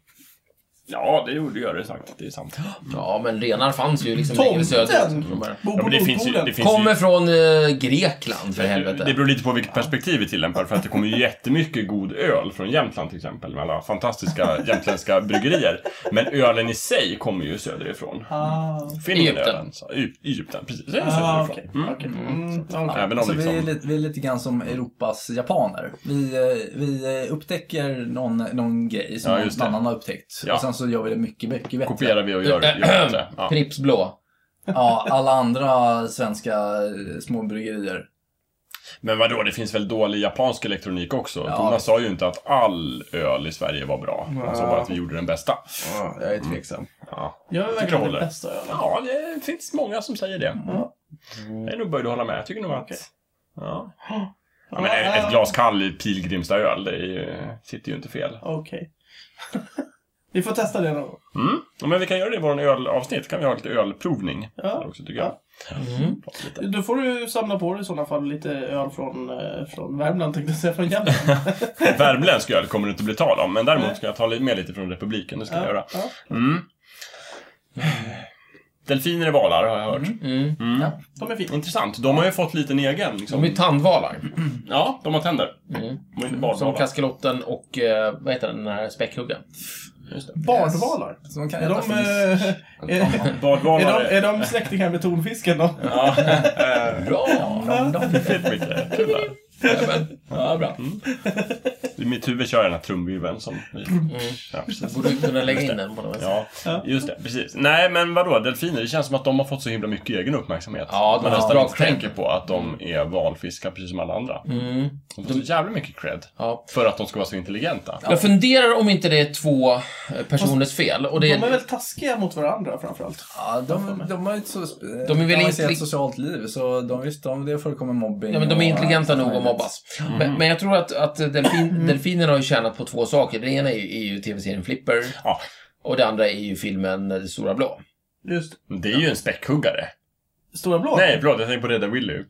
Speaker 4: Ja, det gjorde jag det sagt. Det är sant.
Speaker 2: Ja, men renar fanns ju liksom längre söderut.
Speaker 1: Tomten bor
Speaker 4: Ja,
Speaker 1: på
Speaker 4: men det finns ju... Det
Speaker 1: Nordpolen.
Speaker 4: finns ju...
Speaker 2: Kommer från eh, Grekland, för
Speaker 4: Det
Speaker 2: helvete.
Speaker 4: beror lite på vilket perspektiv vi tillämpar, för att det kommer ju jättemycket god öl från Jämtland till exempel, med alla fantastiska jämtländska bryggerier. Men ölen i sig kommer ju söderifrån.
Speaker 1: Ah,
Speaker 4: Finland
Speaker 2: Egypten.
Speaker 4: ölen. så- Eg- Egypten, precis. Det är
Speaker 1: ah,
Speaker 4: söderifrån.
Speaker 1: okej.
Speaker 4: Mm.
Speaker 1: okej. Mm, okej.
Speaker 4: Även om
Speaker 3: Så Alltså, vi, är
Speaker 4: liksom...
Speaker 3: lite, vi är lite grann som Europas japaner. Vi, eh, vi eh, upptäcker någon, någon grej som
Speaker 4: Ja, just
Speaker 3: någon
Speaker 4: det.
Speaker 3: annan har upptäckt.
Speaker 4: Ja.
Speaker 3: Och sen så gör vi det mycket, mycket bättre.
Speaker 4: Kopierar vi och gör, gör bättre. Ja.
Speaker 2: Pripps blå.
Speaker 3: Ja, alla andra svenska eh, små bryggerier.
Speaker 4: Men vadå, det finns väl dålig japansk elektronik också?
Speaker 3: Ja.
Speaker 4: Thomas sa ju inte att all öl i Sverige var bra. Han sa bara att vi gjorde den bästa.
Speaker 2: Ja, jag är tveksam.
Speaker 4: Ja,
Speaker 1: Jag är
Speaker 4: tycker det
Speaker 1: verkligen
Speaker 4: håller.
Speaker 1: den bästa ölen.
Speaker 4: ja det finns många som säger det.
Speaker 1: Ja.
Speaker 4: Jag är nog böjd att hålla med. Jag tycker nog att...
Speaker 1: Okej.
Speaker 4: Ja.
Speaker 1: Ja, eh,
Speaker 4: ja, men ett,
Speaker 1: Ah,
Speaker 4: ett glas kall pilgrimsöl, det är ju, sitter ju inte fel.
Speaker 1: Okej. vi får testa det någon gång.
Speaker 4: Mm. Ja, Men vi kan göra det i vår ölavsnitt. kan vi ha lite ölprovning.
Speaker 1: Ja.
Speaker 4: där Också, tycker jag.
Speaker 2: Mm.
Speaker 4: Prata lite.
Speaker 1: Då får du samla på dig i sådana fall lite öl från, eh, från Värmland tänkte jag säga, från Jämtland.
Speaker 4: Värmländsk öl kommer det inte bli tal om, men
Speaker 1: Nej.
Speaker 4: däremot ska jag ta li- med lite från republiken. Det ska jag göra.
Speaker 1: ja.
Speaker 4: Mm. Delfiner är valar, har jag hört.
Speaker 2: Mm.
Speaker 4: Mm.
Speaker 3: Ja.
Speaker 1: De är fina.
Speaker 4: Intressant. De har ju fått lite en egen.
Speaker 2: De
Speaker 4: Liksom.
Speaker 2: är tandvalar.
Speaker 4: Ja, de har tänder.
Speaker 2: Mm.
Speaker 4: De är inte
Speaker 2: Som
Speaker 4: badvalar.
Speaker 2: kaskelotten och, eh, vad heter den här späckhuggaren?
Speaker 1: Bardvalar.
Speaker 3: Så de kan
Speaker 1: Är
Speaker 3: äta
Speaker 1: de,
Speaker 3: fisk.
Speaker 1: eh, är, är,
Speaker 4: Badvalar
Speaker 1: de, är de släktingar med tonfisken då?
Speaker 4: Ja.
Speaker 2: Bra!
Speaker 3: Nom, nom.
Speaker 4: Fint, Micke. Kul typ där.
Speaker 2: Jajamän. Ja, bra.
Speaker 4: I mitt huvud kör jag den här trumvirveln som... Ja, precis.
Speaker 2: Borde kunna lägga in den på något sätt.
Speaker 4: Ja, just det. Precis. Nej, men vadå? Delfiner, det känns som att de har fått så himla mycket egen uppmärksamhet.
Speaker 2: Ja, de
Speaker 4: man
Speaker 2: har
Speaker 4: nästan inte
Speaker 2: dragkräm.
Speaker 4: tänker på att de är valfiskar precis som alla andra.
Speaker 2: Mm.
Speaker 4: De får så jävla mycket cred.
Speaker 2: Ja.
Speaker 4: För att de ska vara så intelligenta.
Speaker 2: Jag funderar om inte det är två eh, personers fel. Och det
Speaker 1: De är
Speaker 2: är,
Speaker 1: väl taskiga mot varandra framförallt.
Speaker 3: Ja, de, de har ju ett, så,
Speaker 2: väl
Speaker 3: de har ju
Speaker 2: intelli-
Speaker 3: ett socialt liv, så de, visst, de, det förekommer mobbing.
Speaker 2: ja, men de är
Speaker 3: och-
Speaker 2: intelligenta nog att
Speaker 3: möjligt.
Speaker 2: mobbas. Men, men jag tror att, att
Speaker 4: Mm.
Speaker 2: delfin, delfinerna har ju tjänat på två saker. Det ena är ju, är ju tv-serien Flipper.
Speaker 4: Ja.
Speaker 2: Och det andra är ju filmen eh, Det stora blå.
Speaker 1: Just
Speaker 4: Det är ju en späckhuggare.
Speaker 1: Stora blå?
Speaker 4: Nej, förlåt, jag tänker på Rädda Willy.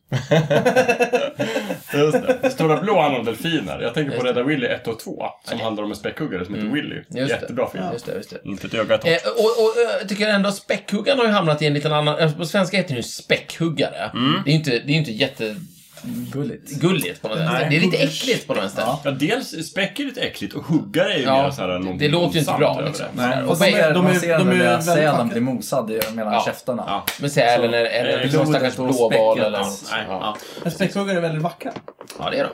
Speaker 4: Just det. Stora Blå handlar om delfiner. Jag tänker på Rädda Willy 1 och 2, som handlar om en späckhuggare som heter Willy.
Speaker 2: Mm. Just det.
Speaker 4: Jättebra film.
Speaker 2: Just det, just det.
Speaker 4: Inte ett öga torrt.
Speaker 2: Eh, och, och eh, jag tycker ändå att späckhuggaren har ju hamnat i en liten annan... eh, På svenska heter den ju späckhuggare.
Speaker 4: Mm.
Speaker 2: Det är ju inte, det är ju inte jättegulligt
Speaker 3: Gulligt.
Speaker 2: på något sätt. Det är lite äckligt på något sätt.
Speaker 3: Ja.
Speaker 4: Ja, dels späck är lite äckligt och huggare är ju
Speaker 2: Ja,
Speaker 4: mer så här någon
Speaker 2: det låter ju inte
Speaker 4: våldsamt
Speaker 2: bra,
Speaker 4: över det.
Speaker 2: liksom.
Speaker 3: Nej,
Speaker 2: Och
Speaker 3: och så
Speaker 2: de är-
Speaker 3: är,
Speaker 1: de är-
Speaker 3: man ser
Speaker 1: de
Speaker 3: den
Speaker 1: är
Speaker 3: där
Speaker 1: väldigt
Speaker 3: sälen
Speaker 1: fucked.
Speaker 3: blir mosad i- mellan
Speaker 2: Ja.
Speaker 3: käftarna.
Speaker 4: Ja.
Speaker 2: Men sälen
Speaker 4: Så,
Speaker 2: eller, eller
Speaker 4: eh,
Speaker 2: liksom
Speaker 3: blodet
Speaker 2: stackars
Speaker 3: och
Speaker 2: blåval
Speaker 3: späcket.
Speaker 2: eller något.
Speaker 4: Nej,
Speaker 2: Ja.
Speaker 4: ja.
Speaker 1: Men Späckhuggare är väldigt vackra.
Speaker 2: ja, det är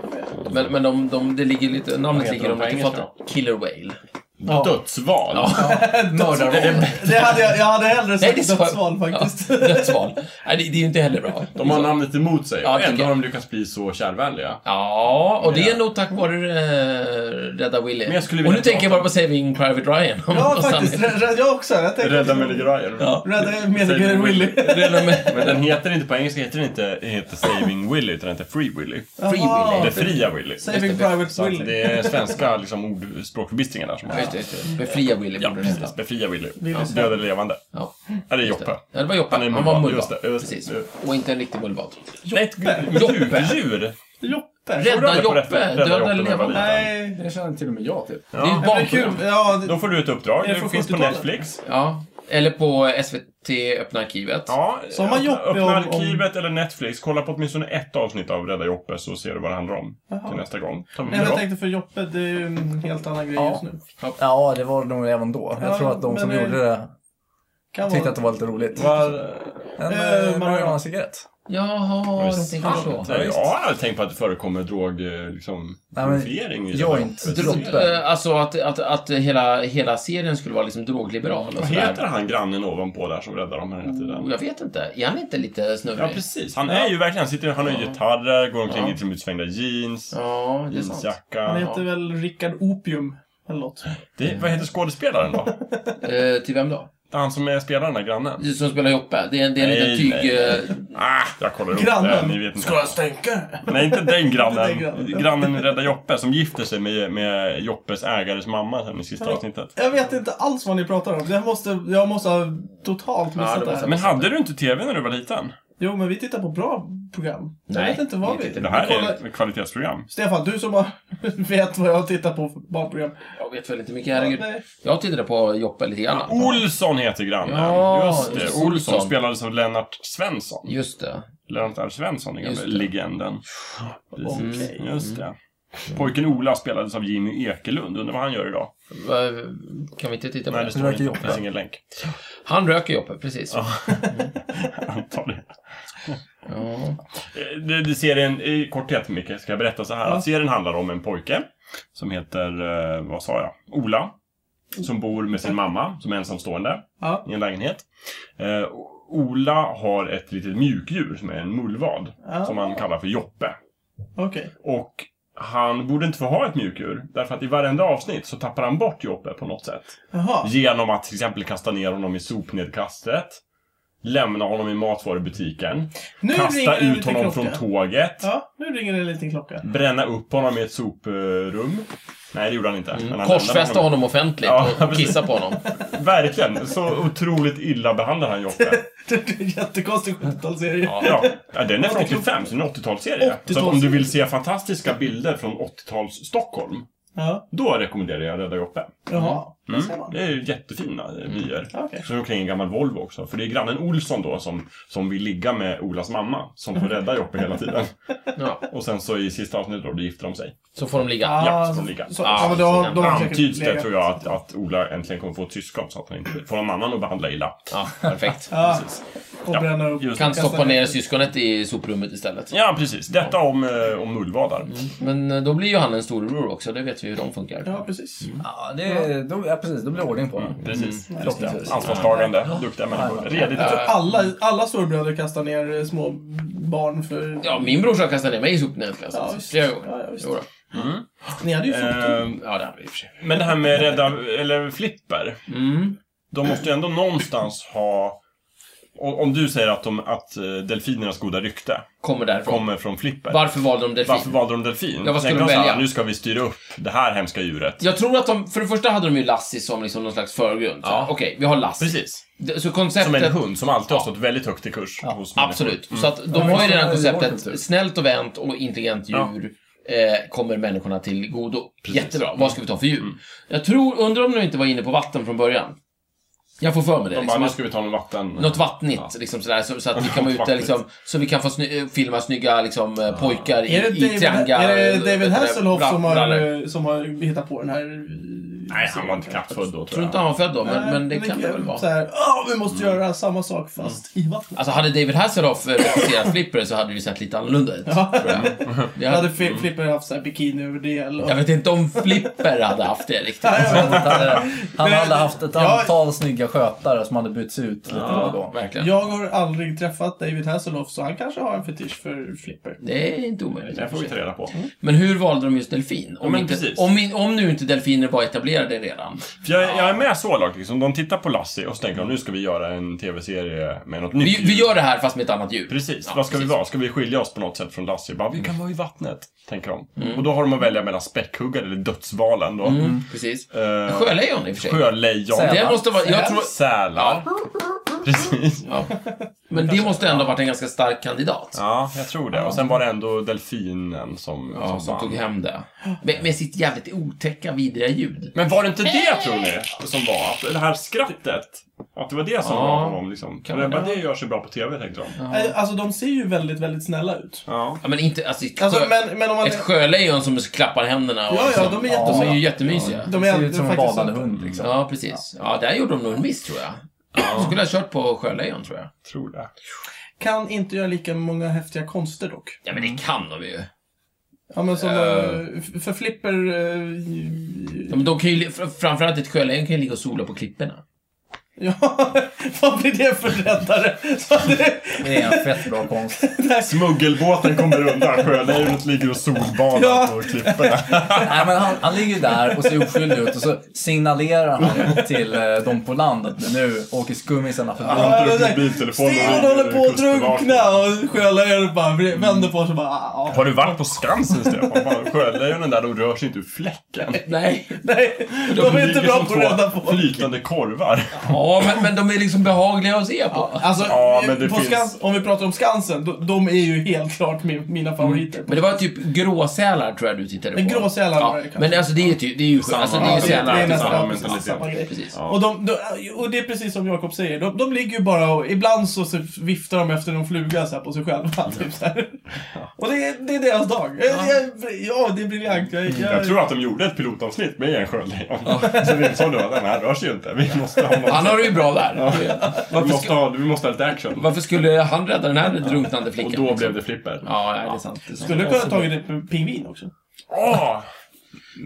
Speaker 2: de. Men, men de, de, det ligger lite, namnet
Speaker 4: heter
Speaker 2: ligger
Speaker 4: de
Speaker 2: de
Speaker 4: på
Speaker 2: lite
Speaker 4: engelska?
Speaker 2: fattigt. Killer Whale.
Speaker 4: Dödsval.
Speaker 3: Mördarval.
Speaker 1: Det hade jag, jag hade hellre
Speaker 2: Nej, det
Speaker 1: sagt
Speaker 2: är
Speaker 1: dödsval
Speaker 2: Ja,
Speaker 1: faktiskt.
Speaker 2: dödsval. Nej, det, det är ju inte heller bra.
Speaker 4: De har namnet emot sig
Speaker 2: Ja,
Speaker 4: och
Speaker 2: tycker
Speaker 4: ändå
Speaker 2: jag.
Speaker 4: har de lyckats bli så kärvänliga.
Speaker 2: Ja, och det är
Speaker 4: Ja.
Speaker 2: nog tack vare eh, Rädda Willy.
Speaker 4: Men jag skulle
Speaker 2: och nu
Speaker 4: vilja
Speaker 2: tänker jag bara
Speaker 4: prata
Speaker 2: på Saving Private Ryan.
Speaker 1: Ja,
Speaker 2: Och
Speaker 1: faktiskt.
Speaker 2: Sammy.
Speaker 1: Rä- rä- Jag också. Jag tänkte,
Speaker 4: Rädda Melly Ryan.
Speaker 2: Ja.
Speaker 1: Rädda meningen Willy.
Speaker 2: Rädda med
Speaker 4: Men den heter inte på engelska, heter den inte heter Saving Willy, utan den heter Free Willy.
Speaker 2: Free
Speaker 1: Jaha.
Speaker 2: Willy.
Speaker 4: Det fria Willy.
Speaker 1: Saving
Speaker 4: Så
Speaker 1: Private
Speaker 4: att
Speaker 1: Willy.
Speaker 4: det är svenska liksom, ord, språkförbistringar där som
Speaker 2: Ja, just det, just det. Befria Willy
Speaker 4: Ja,
Speaker 2: borde det heta.
Speaker 4: precis. Befria Willy.
Speaker 1: Willy
Speaker 4: Ja.
Speaker 1: Svensson.
Speaker 4: Död eller levande.
Speaker 2: Ja,
Speaker 4: Ja, det är
Speaker 2: just det.
Speaker 4: Joppe.
Speaker 2: Ja, det var Joppa.
Speaker 4: Han är
Speaker 2: Han, var
Speaker 4: mullvad.
Speaker 2: mullvad.
Speaker 4: Just det, just det.
Speaker 2: Precis. Och inte en riktig mullvad.
Speaker 4: Nej, ett lodjur.
Speaker 1: Joppe.
Speaker 4: Tror du
Speaker 2: Rädda
Speaker 4: det på
Speaker 2: Joppe,
Speaker 4: rätta- rädda
Speaker 2: döda
Speaker 4: Joppe
Speaker 2: eller
Speaker 4: när jag var
Speaker 2: levande.
Speaker 1: Nej.
Speaker 3: Det känner till och med jag till.
Speaker 2: Det är
Speaker 4: Ja.
Speaker 2: ett
Speaker 1: Ja, men det är kul.
Speaker 2: barnprogram.
Speaker 1: Ja, det-
Speaker 4: Då får du ett uppdrag.
Speaker 1: Är det från
Speaker 4: Det finns på
Speaker 1: 70-talet?
Speaker 4: Netflix.
Speaker 2: Ja, eller på SVT Öppna Arkivet.
Speaker 4: Ja,
Speaker 1: Så har man
Speaker 4: öppna-
Speaker 1: Joppe
Speaker 4: öppna
Speaker 1: om-
Speaker 4: arkivet eller Netflix. Kolla på åtminstone ett avsnitt av Rädda Joppe så ser du vad det handlar om
Speaker 1: Jaha.
Speaker 4: till nästa gång. Ta
Speaker 1: Nej, men
Speaker 4: med
Speaker 1: jag
Speaker 4: dem.
Speaker 1: tänkte för Joppe, det är ju en helt annan grej
Speaker 3: Ja.
Speaker 1: just nu.
Speaker 3: Ja, det var det nog även då. Jag
Speaker 1: Ja,
Speaker 3: tror att de
Speaker 1: men
Speaker 3: som
Speaker 1: det-
Speaker 3: gjorde det
Speaker 1: Kan
Speaker 3: tyckte att det var lite roligt.
Speaker 4: Vad-
Speaker 3: En
Speaker 1: Eh,
Speaker 3: eh, marijuana-cigarett.
Speaker 2: Jaha, de tänker så.
Speaker 4: Ja, jag har aldrig tänkt på att det förekommer drog, eh, liksom,
Speaker 3: Nej, men
Speaker 4: glorifiering i
Speaker 3: joint
Speaker 4: Rädda Joppe.
Speaker 3: drop.
Speaker 2: Eh, Alltså att, att, att hela, hela serien skulle vara liksom drogliberal och
Speaker 4: Vad
Speaker 2: sådär.
Speaker 4: heter han grannen ovanpå där som räddar dem hela
Speaker 2: Oh,
Speaker 4: tiden?
Speaker 2: Jag vet inte. Är han inte lite
Speaker 4: Ja,
Speaker 2: snurrig?
Speaker 4: precis. Han är ju verkligen, sitter, han har ju gitarrer, går omkring
Speaker 2: Ja.
Speaker 4: i liksom utsvängda jeans,
Speaker 2: Ja,
Speaker 4: Mm,
Speaker 2: det är sant.
Speaker 1: Han
Speaker 4: jeansjacka.
Speaker 1: heter väl Rickard Opium eller något.
Speaker 4: Det, vad heter skådespelaren då?
Speaker 2: Eh, till vem då?
Speaker 4: Det är han som är spelaren, den här grannen?
Speaker 2: Som spelar Joppe. Det är, det är en liten
Speaker 4: Nej,
Speaker 2: tyg...
Speaker 4: nej.
Speaker 2: eh,
Speaker 4: Ah, jag kollar upp det.
Speaker 1: Grannen.
Speaker 4: Ni vet inte.
Speaker 1: stänka?
Speaker 4: Nej, inte den grannen.
Speaker 1: Inte den grannen.
Speaker 4: grannen i Rädda Joppe som gifter sig med, med Joppes ägares mamma sen i sista avsnittet.
Speaker 1: Jag vet inte alls vad ni pratar om. Jag måste, jag måste ha totalt missat
Speaker 2: Ja, det
Speaker 1: det,
Speaker 2: måste
Speaker 1: här.
Speaker 2: jag.
Speaker 4: Men hade du inte TV när du var liten?
Speaker 1: Jo, men vi tittar på bra program.
Speaker 2: Nej,
Speaker 1: jag vet inte vad
Speaker 2: vi
Speaker 1: vi...
Speaker 2: tittar
Speaker 4: Det
Speaker 1: vi
Speaker 4: här är
Speaker 1: kollar-
Speaker 4: ett kvalitetsprogram.
Speaker 1: Stefan, du som bara vet vad jag tittar på för barnprogram.
Speaker 2: Jag vet väl inte mycket, herregud.
Speaker 1: Ja, nej.
Speaker 2: Jag tittade på Joppe lite grann.
Speaker 4: Olsson heter grannen.
Speaker 2: Ja,
Speaker 4: just det.
Speaker 2: just
Speaker 4: Olsson,
Speaker 2: Olsson.
Speaker 4: spelades av Lennart Svensson.
Speaker 2: Just det.
Speaker 4: Lennart R. Svensson, den
Speaker 2: Just
Speaker 4: gamla
Speaker 2: det.
Speaker 4: legenden. Precis.
Speaker 1: Okej.
Speaker 4: Just det. Pojken Ola spelades av Jimmy Ekelund. Undrar vad han gör idag?
Speaker 2: Va- Kan vi inte titta på
Speaker 4: Nej, det
Speaker 2: det?
Speaker 4: står
Speaker 3: röker
Speaker 4: inte. Det
Speaker 3: Joppe.
Speaker 4: finns ingen länk.
Speaker 2: Han röker Joppe, precis. Ja.
Speaker 4: Antagligen. Eh, Det, det serien, i korthet Micke, ska jag berätta så här.
Speaker 1: Ja.
Speaker 4: Att serien handlar om en pojke som heter, eh, vad sa jag, Ola. Som bor med sin mamma, som är ensamstående,
Speaker 1: Ja.
Speaker 4: i en lägenhet. Eh, O- Ola har ett litet mjukdjur som är en mullvad,
Speaker 1: Ja.
Speaker 4: som han kallar för Joppe.
Speaker 1: Okej.
Speaker 4: Och han borde inte få ha ett mjukdjur. Därför att i varenda avsnitt så tappar han bort Joppe på något sätt.
Speaker 1: Jaha.
Speaker 4: Genom att till exempel kasta ner honom i sopnedkastet. Lämna honom i matvarubutiken.
Speaker 1: Nu
Speaker 4: kasta
Speaker 1: ringer det en
Speaker 4: ut
Speaker 1: liten
Speaker 4: honom
Speaker 1: klocka.
Speaker 4: från tåget.
Speaker 1: Ja, nu ringer det en liten klocka.
Speaker 4: Bränna upp honom i ett soprum. Nej, det gjorde han inte.
Speaker 1: Mm.
Speaker 4: Men han lämnade
Speaker 2: Mm. Korsfästa honom offentligt
Speaker 4: Ja,
Speaker 2: och- och
Speaker 4: precis.
Speaker 2: kissa på honom.
Speaker 4: Verkligen. Så otroligt illa behandlar han Joppe.
Speaker 1: Det är en jättekonstig 70-talsserie.
Speaker 4: Ja. ja, den är från 85, så den är en 80-talsserie. Så att om du vill se fantastiska bilder från 80-tals-Stockholm,
Speaker 1: Ja.
Speaker 4: då rekommenderar jag Rädda Joppe.
Speaker 1: Jaha. Där ser
Speaker 4: Mm.
Speaker 1: man.
Speaker 4: Det är ju jättefina eh, vyer.
Speaker 1: Ja, Okej.
Speaker 4: Så omkring en gammal Volvo också. För det är grannen Olsson då som, som vill ligga med Olas mamma. Som får rädda Joppe hela tiden.
Speaker 2: Ja.
Speaker 4: Och sen så i sista avsnittet då, då gifter de sig.
Speaker 2: Så får de ligga.
Speaker 4: Ja,
Speaker 1: Ah,
Speaker 4: så får de ligga.
Speaker 1: så-
Speaker 2: Ah,
Speaker 1: ja, men då har-
Speaker 2: så
Speaker 1: då har de säkert
Speaker 4: Antyds det
Speaker 1: legat.
Speaker 4: tror jag att, att Ola äntligen kommer få ett syskon så att han inte får någon annan att behandla illa.
Speaker 2: Ja, perfekt.
Speaker 1: Ja,
Speaker 4: Precis.
Speaker 1: och
Speaker 4: Ja,
Speaker 1: bränna upp.
Speaker 4: Just.
Speaker 2: Kan
Speaker 1: Kasta
Speaker 2: stoppa
Speaker 1: ner.
Speaker 2: ner syskonet i soprummet istället.
Speaker 4: Ja, precis. Detta om, eh, om mullvadar.
Speaker 2: Men eh, då blir ju han en storbror också, det vet vi hur de funkar.
Speaker 1: Ja, precis.
Speaker 3: Ja, det, då, ja, precis. Då blir det ordning på det.
Speaker 4: Precis.
Speaker 1: Mm.
Speaker 4: Just det.
Speaker 3: Precis.
Speaker 4: Ansvarstagande, duktiga människor. Redigt.
Speaker 2: Eh.
Speaker 1: Alla, alla storbröder kastar ner eh, små barn för...
Speaker 2: Ja, min brorsa kastade ner mig i
Speaker 1: Ja,
Speaker 2: sopnedkastet
Speaker 1: visst.
Speaker 2: flera gånger.
Speaker 1: Ja, ja, visst.
Speaker 2: Jo då.
Speaker 1: Ni hade ju fått...
Speaker 4: Ehm,
Speaker 2: Ja, det hade vi i och för sig.
Speaker 4: Men det här med rädda, eller flipper.
Speaker 2: Mm.
Speaker 4: De måste ju ändå någonstans ha... o- Om du säger att, de, att eh, delfinernas goda rykte
Speaker 2: Kommer därifrån.
Speaker 4: kommer från flipper.
Speaker 2: Varför valde de delfin?
Speaker 4: Varför valde de delfin?
Speaker 2: Ja, vad skulle de
Speaker 4: Tänkte så här,
Speaker 2: välja?
Speaker 4: Nu ska vi styra upp det här hemska djuret.
Speaker 2: Jag tror att de, för det första hade de ju Lassie som liksom någon slags förgrund. Så,
Speaker 4: Ja.
Speaker 2: Okej, vi har Lassie.
Speaker 4: Precis.
Speaker 2: Det- Så
Speaker 4: Som en
Speaker 2: konceptet...
Speaker 4: hund som alltid har stått väldigt högt i kurs hos människor.
Speaker 2: Absolut. Så att de
Speaker 3: Ja, men
Speaker 2: har ju
Speaker 3: så är
Speaker 2: redan
Speaker 3: det i vår kultur.
Speaker 2: konceptet snällt och vänt och intelligent djur eh, kommer människorna till godo.
Speaker 4: Precis. Mm.
Speaker 2: Jättebra. Vad ska vi ta för djur? Jag tror, undrar om de inte var inne på vatten från början. Jag får för mig det.
Speaker 4: De
Speaker 2: liksom,
Speaker 4: bara, nu
Speaker 2: att-
Speaker 4: ska vi ta någon vatten...
Speaker 2: Något vattnigt, liksom sådär, så, så att vi kan vara ute,
Speaker 4: Vattnigt.
Speaker 2: liksom, så vi kan få sny- filma snygga liksom, eh, pojkar i,
Speaker 1: Är det
Speaker 2: i
Speaker 1: David,
Speaker 2: Tianga.
Speaker 1: är det
Speaker 2: eh,
Speaker 1: David Hasselhoff
Speaker 2: bra-
Speaker 1: som har,
Speaker 2: brallor.
Speaker 1: eh, som har hittat på den här... eh,
Speaker 4: Nej, han var inte knappt född då,
Speaker 2: Jag tror
Speaker 4: tror
Speaker 2: inte
Speaker 4: jag.
Speaker 2: han var född då, men, men det kan det väl
Speaker 1: Så
Speaker 2: vara. Mm.
Speaker 1: här, "Åh, vi måste göra samma sak fast i vattnet.
Speaker 2: Alltså, hade David Hasselhoff eh, regisserat Flipper så hade det ju sett lite annorlunda ut.
Speaker 1: Ja.
Speaker 2: tror jag. Det
Speaker 1: Jag
Speaker 2: hade,
Speaker 1: hade fi- Flipper haft så här bikiniöverdel och...
Speaker 2: jag vet inte om Flipper hade haft det riktigt.
Speaker 1: Nej, jag vet inte.
Speaker 3: Han hade, han
Speaker 1: Men-
Speaker 3: hade haft ett
Speaker 1: Ja.
Speaker 3: antal snygga skötare som hade bytts ut lite då och då.
Speaker 2: Verkligen.
Speaker 1: Jag har aldrig träffat David Hasselhoff så han kanske har en fetisch för Flipper.
Speaker 2: Det är inte omöjligt.
Speaker 4: Det här får vi ta reda på.
Speaker 2: Men hur valde de just delfin? Om,
Speaker 4: men
Speaker 2: inte,
Speaker 4: precis.
Speaker 2: om, in- om nu inte delfiner var etablerade redan.
Speaker 4: För jag, jag är med så långt liksom. De tittar på Lassie och så tänker de, nu ska vi göra en tv-serie med något nytt
Speaker 2: Vi, vi
Speaker 4: djur."
Speaker 2: gör det här fast med ett annat djur.
Speaker 4: Precis,
Speaker 2: Ja,
Speaker 4: vad ska
Speaker 2: precis. Mm.
Speaker 4: vi vara? Ska vi skilja oss på något sätt från Lassie? Bara, vi kan vara i vattnet, tänker de. Och då har de att välja mellan späckhuggare eller dödsvalen då.
Speaker 2: Mm, precis.
Speaker 4: Eh,
Speaker 2: Sjölejon i och för sig.
Speaker 4: Sjölejon.
Speaker 3: Sälar.
Speaker 2: Det måste vara, jag tror,
Speaker 4: Sälar. Precis.
Speaker 2: ja. Men det måste ändå ha varit en ganska stark kandidat.
Speaker 4: Ja, jag tror det. Och sen var det ändå delfinen som,
Speaker 2: Ja, som
Speaker 4: vann.
Speaker 2: tog hem det. Med, med sitt jävligt otäcka, vidriga ljud.
Speaker 4: Men var det inte det, tror ni, som var? Att Det här skrattet. Att det var det som
Speaker 2: Ja.
Speaker 4: var honom liksom.
Speaker 2: Kan
Speaker 4: Kan det,
Speaker 2: vara.
Speaker 4: bara, det gör sig bra på TV, tänkte de. Ja.
Speaker 1: Eh, Alltså de ser ju väldigt, väldigt snälla ut.
Speaker 2: Ja, men inte... Alltså, ett,
Speaker 1: Alltså,
Speaker 2: sjö,
Speaker 1: men, men om man...
Speaker 2: ett sjölejon som klappar händerna och
Speaker 1: Ja, ja,
Speaker 2: liksom-
Speaker 1: de är jättesöta.
Speaker 2: de är ju jättemysiga.
Speaker 1: De
Speaker 3: Det ser ut
Speaker 1: det
Speaker 3: som en
Speaker 1: faktiskt
Speaker 3: badande
Speaker 1: så.
Speaker 3: hund liksom.
Speaker 2: Ja, precis. Ja, där gjorde de nog en miss, tror jag. De skulle ha kört på sjölejon, tror jag.
Speaker 4: Tror det.
Speaker 1: Kan inte göra lika många häftiga konster dock.
Speaker 2: Ja, men det kan de ju.
Speaker 1: Ja, men som...
Speaker 2: Eh.
Speaker 1: eh, f- för Flipper... eh,
Speaker 2: De, de kan ju li- fr- framförallt ett sjölejon kan ju ligga och sola på klipporna.
Speaker 1: Ja, vad blir det för räddare? Så att det-
Speaker 3: Det är en fett bra konst.
Speaker 4: Smuggelbåten kommer undan. Sjölejonet ligger och solbadar
Speaker 1: Ja.
Speaker 4: på klipporna.
Speaker 3: Nej, men han, han ligger ju där och ser oskyldig ut och så signalerar han till eh, de på landet nu åker skummisarna förbi.
Speaker 4: Han drar upp
Speaker 1: det där-
Speaker 4: mobiltelefonen
Speaker 1: Steven
Speaker 4: och
Speaker 1: håller på att
Speaker 4: kustbevakningen.
Speaker 1: drunkna och sjölejonet bara vänder på sig och bara... "Ah, ah."
Speaker 4: Har du varit på Skansen, Stefan? Fan, Sjölejonen där, de rör sig inte ur fläcken.
Speaker 2: Nej.
Speaker 1: Nej, de är inte
Speaker 4: ligger
Speaker 1: bra
Speaker 4: som
Speaker 1: på
Speaker 4: två
Speaker 1: att rädda på.
Speaker 4: flytande korvar.
Speaker 2: Ja, men, men de är liksom behagliga att se på.
Speaker 1: Alltså,
Speaker 4: Ja, men det
Speaker 1: på
Speaker 4: finns-
Speaker 1: Skans, om vi pratar om Skansen, de, de är ju helt klart min, mina favoriter.
Speaker 2: Men det var typ gråsälar tror jag du tittade på.
Speaker 1: En gråsälar var
Speaker 2: ja,
Speaker 1: det kanske.
Speaker 2: Men alltså det är ju, ty- det är ju skönt. Alltså, det är
Speaker 4: Ja,
Speaker 2: ju
Speaker 4: det-
Speaker 2: sälar.
Speaker 4: det är
Speaker 2: liksom.
Speaker 4: nästan-
Speaker 1: nästan
Speaker 4: samma mentalitet.
Speaker 1: samma grej.
Speaker 2: Precis.
Speaker 4: Ja.
Speaker 1: Och, de, de, och det är precis som Jakob säger, de, de ligger ju bara och ibland så så viftar de efter någon fluga så här på sig själva. Typ så här. Och det, är- det är deras dag. Ja, det är, ja, det är briljant. Jag, jag,
Speaker 4: Mm, Jag tror att de gjorde ett pilotavsnitt med en sjölejon. Så vi sa då att den här rör sig ju inte. Vi måste ha något.
Speaker 2: Han har det ju bra där.
Speaker 4: vi,
Speaker 2: Varför,
Speaker 4: måste
Speaker 2: sku-
Speaker 4: ha, vi måste ha lite action.
Speaker 2: varför skulle han rädda den här drunknande
Speaker 4: Och
Speaker 2: flickan?
Speaker 4: då
Speaker 2: liksom?
Speaker 4: blev det flipper.
Speaker 2: Ja, nej, det är sant. Det är sant.
Speaker 1: skulle kunna ha tagit en pingvin också.
Speaker 4: Åh!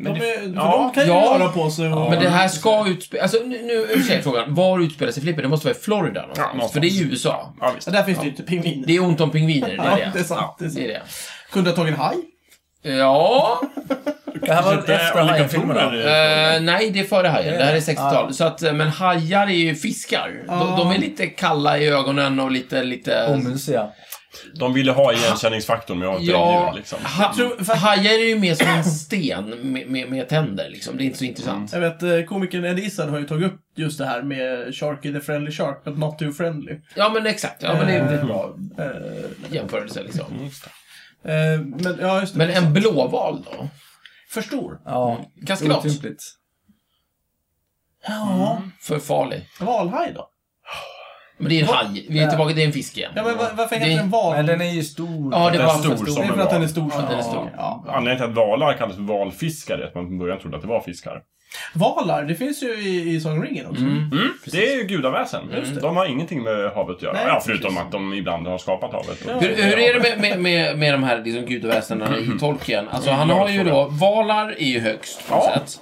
Speaker 1: De, är, för
Speaker 4: ja,
Speaker 1: de kan ju
Speaker 2: ja.
Speaker 1: röra på sig. Och,
Speaker 2: Men det här ska utspela... Alltså nu, nu i och för sig är frågan. Var utspelar sig Flipper? Det måste vara i Florida någonstans.
Speaker 4: någonstans.
Speaker 2: För det är ju USA.
Speaker 4: Ja, visst.
Speaker 1: Så där finns det ju inte pingviner.
Speaker 2: Det är ont om pingviner. Det är
Speaker 1: Ja,
Speaker 2: det.
Speaker 1: det är sant, det är sant.
Speaker 2: det, är det.
Speaker 1: Kunde ha tagit en haj.
Speaker 2: Ja,
Speaker 3: Det här var
Speaker 4: Kanske inte
Speaker 3: efter
Speaker 4: olika
Speaker 3: Hajen-filmerna.
Speaker 4: toner i-
Speaker 2: eh, nej det är före hajar. Det här är 60-tal.
Speaker 3: Ah.
Speaker 2: Så att, eh, men hajar är ju fiskar. De,
Speaker 1: Ah.
Speaker 2: de är lite kalla i ögonen och lite, lite...
Speaker 3: Omysiga.
Speaker 4: De ville ha igenkänningsfaktorn med
Speaker 2: Ja,
Speaker 4: avträngdjur liksom.
Speaker 2: ha, hajar är ju mer som en sten med, med, med tänder liksom. Det är inte så
Speaker 4: Mm.
Speaker 2: intressant.
Speaker 1: Jag vet, eh, komikern Ed Izzard har ju tagit upp just det här med Sharky the friendly shark, but not too friendly.
Speaker 2: Ja, men exakt. Ja, men det är en
Speaker 1: Eh,
Speaker 2: bra
Speaker 1: Eh,
Speaker 2: jämförelse liksom.
Speaker 1: eh, men ja, just det.
Speaker 2: Men en blåval då?
Speaker 1: För stor.
Speaker 3: Ja.
Speaker 2: Ganska gott.
Speaker 3: Otympligt.
Speaker 1: Ja.
Speaker 2: För farlig.
Speaker 1: Mm. Valhaj då?
Speaker 2: Men det är en haj. Vi är
Speaker 3: Ja.
Speaker 2: tillbaka, det är en fisk igen.
Speaker 1: Ja, men va- varför
Speaker 2: Det-
Speaker 1: heter den val?
Speaker 3: Men den är ju stor.
Speaker 2: Ja, det
Speaker 4: Den
Speaker 2: var
Speaker 4: är stor
Speaker 2: för
Speaker 1: Det
Speaker 2: stor.
Speaker 1: är
Speaker 4: som-
Speaker 1: för att den är stor.
Speaker 2: Ja, den är stor.
Speaker 1: Ja.
Speaker 4: Anledningen till att valar kallas för valfiskar är att man från början trodde att det var fiskar.
Speaker 1: Valar, det finns ju i, i Sagan om ringen också.
Speaker 2: Mm.
Speaker 4: Det är ju gudaväsen. De har ingenting med havet att göra.
Speaker 1: Nej,
Speaker 4: ja, förutom att de ibland har skapat havet.
Speaker 2: Hur, hur är det med, med, med, med de här liksom gudaväsendena
Speaker 4: Mm.
Speaker 2: i Tolkien? Alltså, han har ju då... Valar är ju högst på något
Speaker 4: Ja.
Speaker 2: sätt.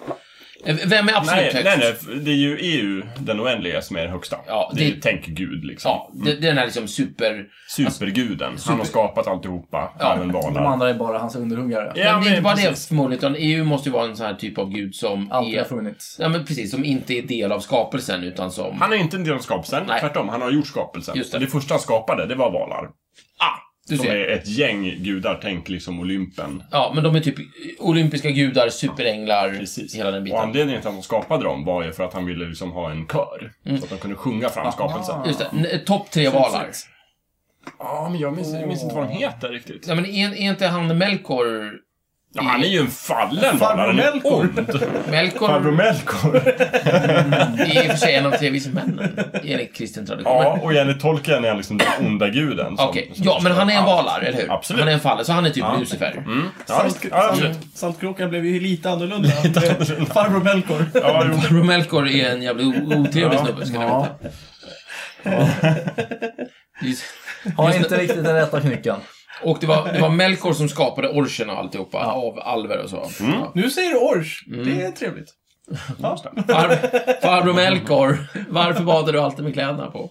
Speaker 2: Eh, Vem är absolut
Speaker 4: Nej,
Speaker 2: högst?
Speaker 4: nej, nej, det är ju EU, den oändliga, som är den högsta.
Speaker 2: Ja,
Speaker 4: det är
Speaker 2: det-
Speaker 4: ju tänk Gud, liksom.
Speaker 2: Ja, det, det är den här liksom super...
Speaker 4: Superguden. Han har skapat alltihopa,
Speaker 2: Ja,
Speaker 4: även
Speaker 3: De
Speaker 4: valar.
Speaker 3: andra är bara hans underhuggare.
Speaker 2: men
Speaker 4: Ja,
Speaker 2: det är
Speaker 4: men
Speaker 2: inte bara det
Speaker 4: precis.
Speaker 2: förmodligen, utan EU måste ju vara en sån här typ av gud som
Speaker 3: Alltid har
Speaker 2: är...
Speaker 3: funnits.
Speaker 2: Ja, men precis. Som inte är del av skapelsen, utan som...
Speaker 4: Han är inte en del av skapelsen,
Speaker 2: Nej.
Speaker 4: tvärtom. Han har gjort skapelsen.
Speaker 2: Just det.
Speaker 4: det. första han skapade, det var valar.
Speaker 2: Ah! Du
Speaker 4: Som
Speaker 2: ser.
Speaker 4: är ett gäng gudar, tänk liksom Olympen.
Speaker 2: Ja, men de är typ olympiska gudar, superänglar, hela den
Speaker 4: Och
Speaker 2: biten.
Speaker 4: anledningen till att han skapade dem var ju för att han ville liksom ha en kör.
Speaker 2: Mm.
Speaker 4: Så att de kunde sjunga
Speaker 2: Ah.
Speaker 4: fram skapelsen.
Speaker 2: Just det. N- Topp tre valar.
Speaker 4: Ja, men jag minns, jag minns inte vad de heter riktigt.
Speaker 2: Ja, men är, är inte han Melkor...
Speaker 4: Ja, han är ju en fallen
Speaker 1: Farbror
Speaker 4: valare. Han är
Speaker 1: Melkor.
Speaker 4: ond. Farbror
Speaker 2: Melkor
Speaker 4: Melkor.
Speaker 2: är i och för sig en av tre vise männen, enligt kristen tradition.
Speaker 4: Ja, och enligt tolken är han liksom den onda guden. som-
Speaker 2: Okej,
Speaker 4: som
Speaker 2: ja men han är en
Speaker 4: allt.
Speaker 2: valar, eller hur?
Speaker 4: Absolut.
Speaker 2: Han är en faller, så han är typ Lucifer.
Speaker 4: Mm. Ja, visst. Mm. Ja, absolut.
Speaker 1: Saltkråkan blev ju lite annorlunda. med Farbror Melkor.
Speaker 4: Ja, jo.
Speaker 2: Farbror Melkor är en jävligt o- otrevlig snubbe, ska ni veta.
Speaker 3: Ja.
Speaker 2: Just-
Speaker 3: Har inte riktigt den rätta knycken.
Speaker 2: Och det var, det var Melkor som skapade orcherna och alltihopa, av alver och så.
Speaker 4: Mm.
Speaker 2: Ja.
Speaker 1: Nu säger du Ors.
Speaker 2: Mm.
Speaker 1: Det är trevligt. Ja.
Speaker 2: Far- Farbror Melkor, varför badar du alltid med kläderna på?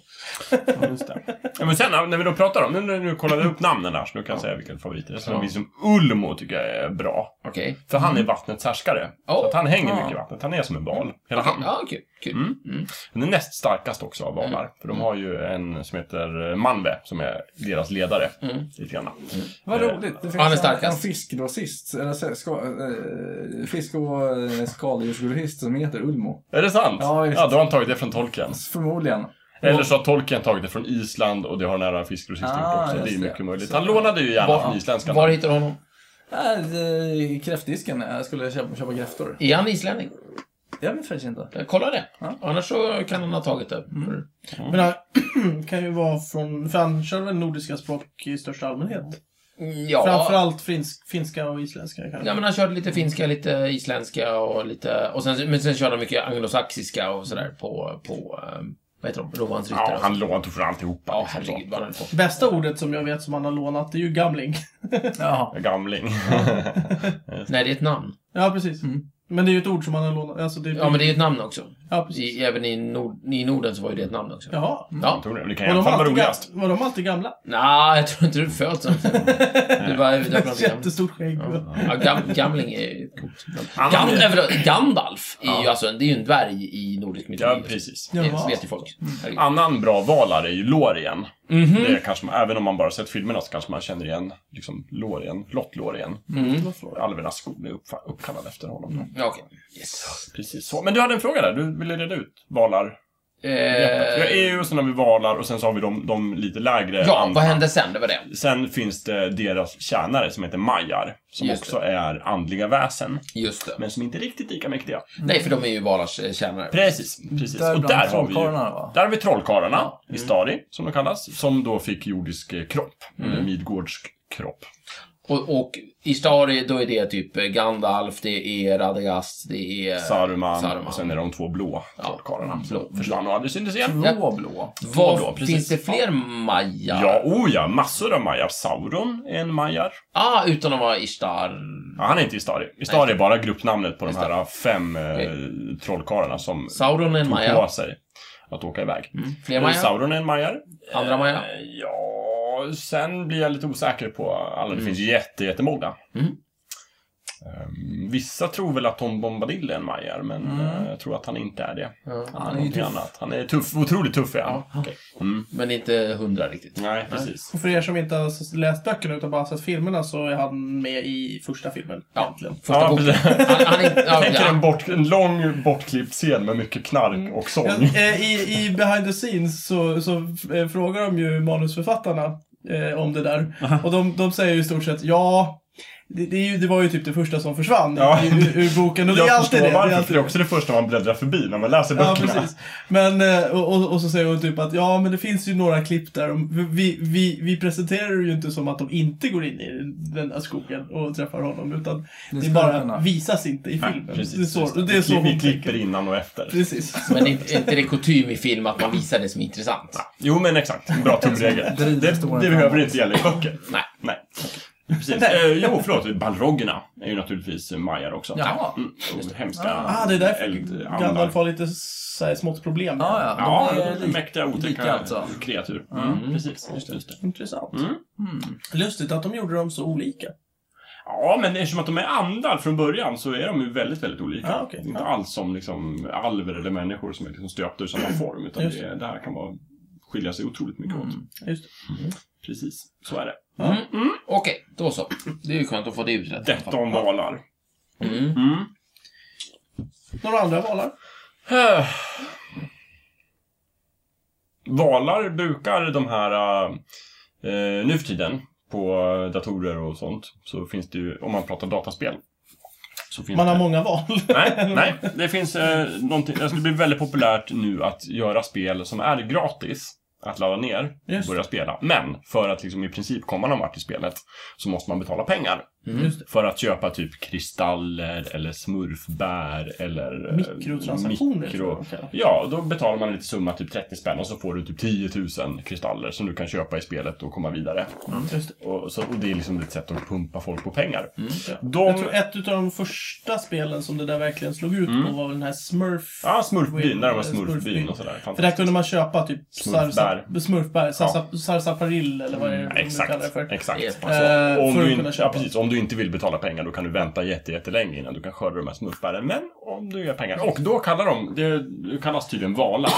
Speaker 4: Ja, men sen när vi då pratar om, nu, nu, nu kollade jag upp namnen här så nu kan jag säga vilken favorit det är. Sen finns som Ulmo tycker jag är bra.
Speaker 2: Okej.
Speaker 4: För han är vattnets härskare.
Speaker 2: Oh.
Speaker 4: Så att han hänger
Speaker 2: Ah.
Speaker 4: mycket i vattnet. Han är som en val. Hela han.
Speaker 2: Ja, kul. kul.
Speaker 4: Den är näst starkast också av valar. För de har ju en som heter eh, Manve, som är deras ledare. Lite grann.
Speaker 3: Vad
Speaker 4: Eh,
Speaker 3: roligt. Det finns
Speaker 2: han är
Speaker 3: en-
Speaker 2: starkast.
Speaker 3: En fiskgrossist, eller så- ska, eh, fisk och eh, skaldjursgrossist som heter Ulmo.
Speaker 4: Är det sant?
Speaker 3: Ja, visst.
Speaker 4: ja, då har han tagit det från tolken.
Speaker 3: Förmodligen.
Speaker 4: Eller så har tolken tagit det från Island och det har nära fiskgrossisten
Speaker 3: Ah,
Speaker 4: gjort också. Det är
Speaker 3: just det.
Speaker 4: mycket möjligt. Han lånade ju gärna från isländska
Speaker 2: Var
Speaker 4: namn.
Speaker 2: hittar du honom?
Speaker 3: Äh, eh, kräftdisken. Jag skulle köpa, köpa kräftor.
Speaker 2: Är han islänning?
Speaker 3: Jag vet faktiskt inte.
Speaker 2: Eh, Kolla det. Annars så kan han ha tagit det. Mm.
Speaker 1: Men han kan ju vara från... För han kör väl nordiska språk i största allmänhet?
Speaker 2: Mm, Ja.
Speaker 1: Framförallt finsk, finska och isländska kanske.
Speaker 2: Ja, men han körde lite finska, lite isländska och lite... Och sen, men sen körde han mycket anglosaxiska och sådär på... på eh, vad heter de? Rovans ryttare.
Speaker 4: Ja, han lånade från alltihopa.
Speaker 2: Ja,
Speaker 4: liksom så.
Speaker 2: herregud vad han höll på.
Speaker 1: Bästa ordet som jag vet som han har lånat, det är ju gamling.
Speaker 3: Jaha.
Speaker 4: Gamling.
Speaker 2: Nej, det är ett namn.
Speaker 1: Ja, precis. Men det är ju ett ord som han har lånat. Alltså, det är...
Speaker 2: Mm. Ja, men det är ett namn också.
Speaker 1: Ja, precis.
Speaker 2: I, även i, Nord, i Norden så var ju det ett namn också.
Speaker 1: Jaha.
Speaker 2: Ja. Mm.
Speaker 4: Tror du? Det kan i
Speaker 1: Var de,
Speaker 4: alla fall vara
Speaker 1: alltid
Speaker 4: roligast.
Speaker 1: ga- var de alltid gamla?
Speaker 2: Nej, jag tror inte du föds som... Du bara döper något namn.
Speaker 1: Jättestort skägg. Mm.
Speaker 2: Ja, gam, gamling är ju ett coolt namn.
Speaker 4: Han-
Speaker 2: Gam, nej, förlåt, Gandalf är ju alltså, det är ju en dvärg i nordisk
Speaker 4: Ja,
Speaker 2: mytologi.
Speaker 4: precis.
Speaker 2: det
Speaker 1: Jaha.
Speaker 2: vet ju folk. Herregud.
Speaker 4: Annan bra valar är ju Lorien.
Speaker 2: Mhm.
Speaker 4: Det är kanske man, även om man bara sett filmerna så kanske man känner igen liksom Lorien, Lott Lorien.
Speaker 2: Mm.
Speaker 4: Alvernas skog är uppfa- uppkallad efter honom. Då.
Speaker 2: Ja, okej. Yes.
Speaker 4: Precis så. Men du hade en fråga där, du ville reda ut valar. För
Speaker 2: Eh,
Speaker 4: EU och sen har vi valar och sen så har vi de, de lite lägre.
Speaker 2: ja,
Speaker 4: andra.
Speaker 2: vad hände sen? Det var det.
Speaker 4: Sen finns det deras tjänare som heter majar, som
Speaker 2: Just
Speaker 4: också är andliga väsen,
Speaker 2: Just det.
Speaker 4: men som inte är riktigt lika mäktiga.
Speaker 2: Nej, för de är ju Valars eh, tjänare.
Speaker 4: Precis, precis.
Speaker 3: Där
Speaker 4: och
Speaker 3: bland
Speaker 4: där har vi ju
Speaker 3: trollkarlarna, va?
Speaker 4: Där har vi trollkarlarna,
Speaker 2: Mm.
Speaker 4: Istari, som de kallas, som då fick jordisk eh, kropp,
Speaker 2: Mm.
Speaker 4: eller midgårdsk kropp.
Speaker 2: Och, och Istari, då är det typ eh, Gandalf, det är Radagast, det är...
Speaker 4: Saruman,
Speaker 2: Eh, Saruman.
Speaker 4: och sen är de två blå trollkarlarna som försvann och aldrig syntes igen.
Speaker 3: Blå, blå.
Speaker 2: Vad,
Speaker 4: då, precis.
Speaker 2: finns det fler majar?
Speaker 4: Ja, oh ja, massor av majar. Sauron är en majar.
Speaker 2: Ah, utan att vara Ishtar.
Speaker 4: Ja, han är inte Istari. Istari är bara gruppnamnet på de här fem eh, trollkarlarna som
Speaker 2: Sauron är en
Speaker 4: tog
Speaker 2: maja. Mm.
Speaker 4: på sig att åka iväg.
Speaker 2: Fler majar?
Speaker 4: Sauron är en majar.
Speaker 2: Andra majar?
Speaker 4: Ja, Eh, Ja, sen blir jag lite osäker på alla. Det finns jätte, jättemånga.
Speaker 2: Mm.
Speaker 4: Ehm, Vissa tror väl att Tom Bombadil är en majar, men eh, jag tror att han inte är det.
Speaker 2: Ja.
Speaker 4: Han
Speaker 3: Han är ju
Speaker 4: är, typ- någonting
Speaker 3: tuff.
Speaker 4: annat. Han är tuff. Otroligt tuff är han.
Speaker 2: Okej.
Speaker 4: Mm.
Speaker 2: Men inte hundra riktigt.
Speaker 4: Nej, precis.
Speaker 1: Och för er som inte har läst böckerna utan bara sett filmerna så är han med i första filmen. Egentligen.
Speaker 2: Första
Speaker 4: Ja,
Speaker 2: boken.
Speaker 4: precis.
Speaker 2: Han, han är inte... Ja,
Speaker 4: Tänker en,
Speaker 2: ja.
Speaker 4: bort, en lång bortklippt scen med mycket knark och sång.
Speaker 1: Ja, eh, I, I behind the scenes så, så eh, frågar de ju manusförfattarna eh, om det där. Och de, de säger ju i stort sett ja, det, det, är ju, det var ju typ det första som försvann
Speaker 4: Ja.
Speaker 1: i- ur, ur boken. Och det är
Speaker 4: Jag
Speaker 1: alltid
Speaker 4: förstår
Speaker 1: det. det,
Speaker 4: varför,
Speaker 1: är
Speaker 4: för
Speaker 1: alltid
Speaker 4: det är också det första man bläddrar förbi när man läser
Speaker 1: Ja,
Speaker 4: böckerna.
Speaker 1: precis. Men, eh, och, och, och så säger hon typ att ja, men det finns ju några klipp där. de- Vi, vi, vi presenterar det ju inte som att de inte går in i den här skogen och träffar honom, utan det,
Speaker 3: skulle
Speaker 1: bara
Speaker 3: kunna.
Speaker 1: visas inte i filmen. det är så,
Speaker 4: just det.
Speaker 1: det. är så
Speaker 4: vi, vi
Speaker 1: hon
Speaker 4: klipper
Speaker 1: tänker.
Speaker 4: innan och efter.
Speaker 1: Precis.
Speaker 2: Men inte inte det kutym i film att man visar det som är intressant?
Speaker 4: Jo, men exakt. Bra tumregel.
Speaker 3: Driver
Speaker 4: det
Speaker 3: historien
Speaker 4: det behöver
Speaker 3: framåt.
Speaker 4: inte gälla i böcker.
Speaker 2: Nej.
Speaker 4: Nej. Precis. Eh, jo, förlåt. Balroggerna är ju naturligtvis majar också.
Speaker 3: Jaha.
Speaker 4: Mm. Och hemska
Speaker 1: Ah, det är därför
Speaker 4: eldandar.
Speaker 1: Gandalf har lite så här, smått problem.
Speaker 3: Ja, ja.
Speaker 4: Ja,
Speaker 3: De är lika.
Speaker 4: mäktiga, otäcka
Speaker 3: lika alltså.
Speaker 4: kreatur. Mm. Precis, just det. Just det.
Speaker 1: Intressant.
Speaker 4: Mm.
Speaker 3: Mm.
Speaker 1: Lustigt att de gjorde dem så olika.
Speaker 4: Ja, men eftersom att de är andar från början så är de ju väldigt, väldigt olika.
Speaker 1: Ah, okej.
Speaker 4: Det är Inte alls som liksom alver eller människor som är liksom stöpta ur samma form. Utan
Speaker 1: Just
Speaker 4: det, Mm. det här kan vara, skilja sig otroligt mycket åt.
Speaker 1: Just det.
Speaker 4: Precis, så är det.
Speaker 2: Mm. Okej, då så. Det är ju skönt att få det utrett. i alla fall.
Speaker 4: Detta om valar.
Speaker 2: Mm.
Speaker 4: Mm.
Speaker 1: Några andra valar?
Speaker 4: Eh. Valar brukar de här, eh, nu för tiden, på datorer och sånt, så finns det ju, om man pratar dataspel, så finns
Speaker 1: Man har
Speaker 4: det...
Speaker 1: många val.
Speaker 4: Nej, nej, det finns eh, någonting, alltså det blir väldigt populärt nu att göra spel som är gratis att ladda ner och
Speaker 1: Just
Speaker 4: börja spela. Men för att liksom i princip komma någon vart i spelet så måste man betala pengar.
Speaker 1: Just det.
Speaker 4: För att köpa typ kristaller eller smurfbär eller... eh,
Speaker 1: Mikrotransaktioner, tror jag
Speaker 4: Mikro...
Speaker 1: de kallar det.
Speaker 4: Ja, då betalar man en liten summa, typ 30 spänn, och så får du typ 10 000 kristaller som du kan köpa i spelet och komma vidare.
Speaker 1: Just det.
Speaker 4: Och, så, och det är liksom ett sätt att pumpa folk på pengar.
Speaker 1: Ja.
Speaker 4: De-
Speaker 1: Jag tror ett utav de första spelen som det där verkligen slog ut på var den här Smurf...
Speaker 4: Mm. Ja, smurfbyn, när det var
Speaker 1: Smurfbyn.
Speaker 4: smurfbyn och sådär.
Speaker 1: För där kunde man köpa typ
Speaker 4: Smurfbär. Mm,
Speaker 1: sarsa- smurfbär, sarsa- sarsaparil eller vad det är de kallar det
Speaker 4: Exakt,
Speaker 1: för.
Speaker 4: exakt.
Speaker 2: Eh,
Speaker 4: Alltså, om,
Speaker 1: för att
Speaker 4: du
Speaker 1: kunna
Speaker 4: inte, ja,
Speaker 1: köpa.
Speaker 4: precis, om du inte vill betala pengar då kan du vänta jätte- jättelänge innan du kan skörda de här smurfbären. Men om du gör pengar. Och då kallar de, det kallas tydligen valar,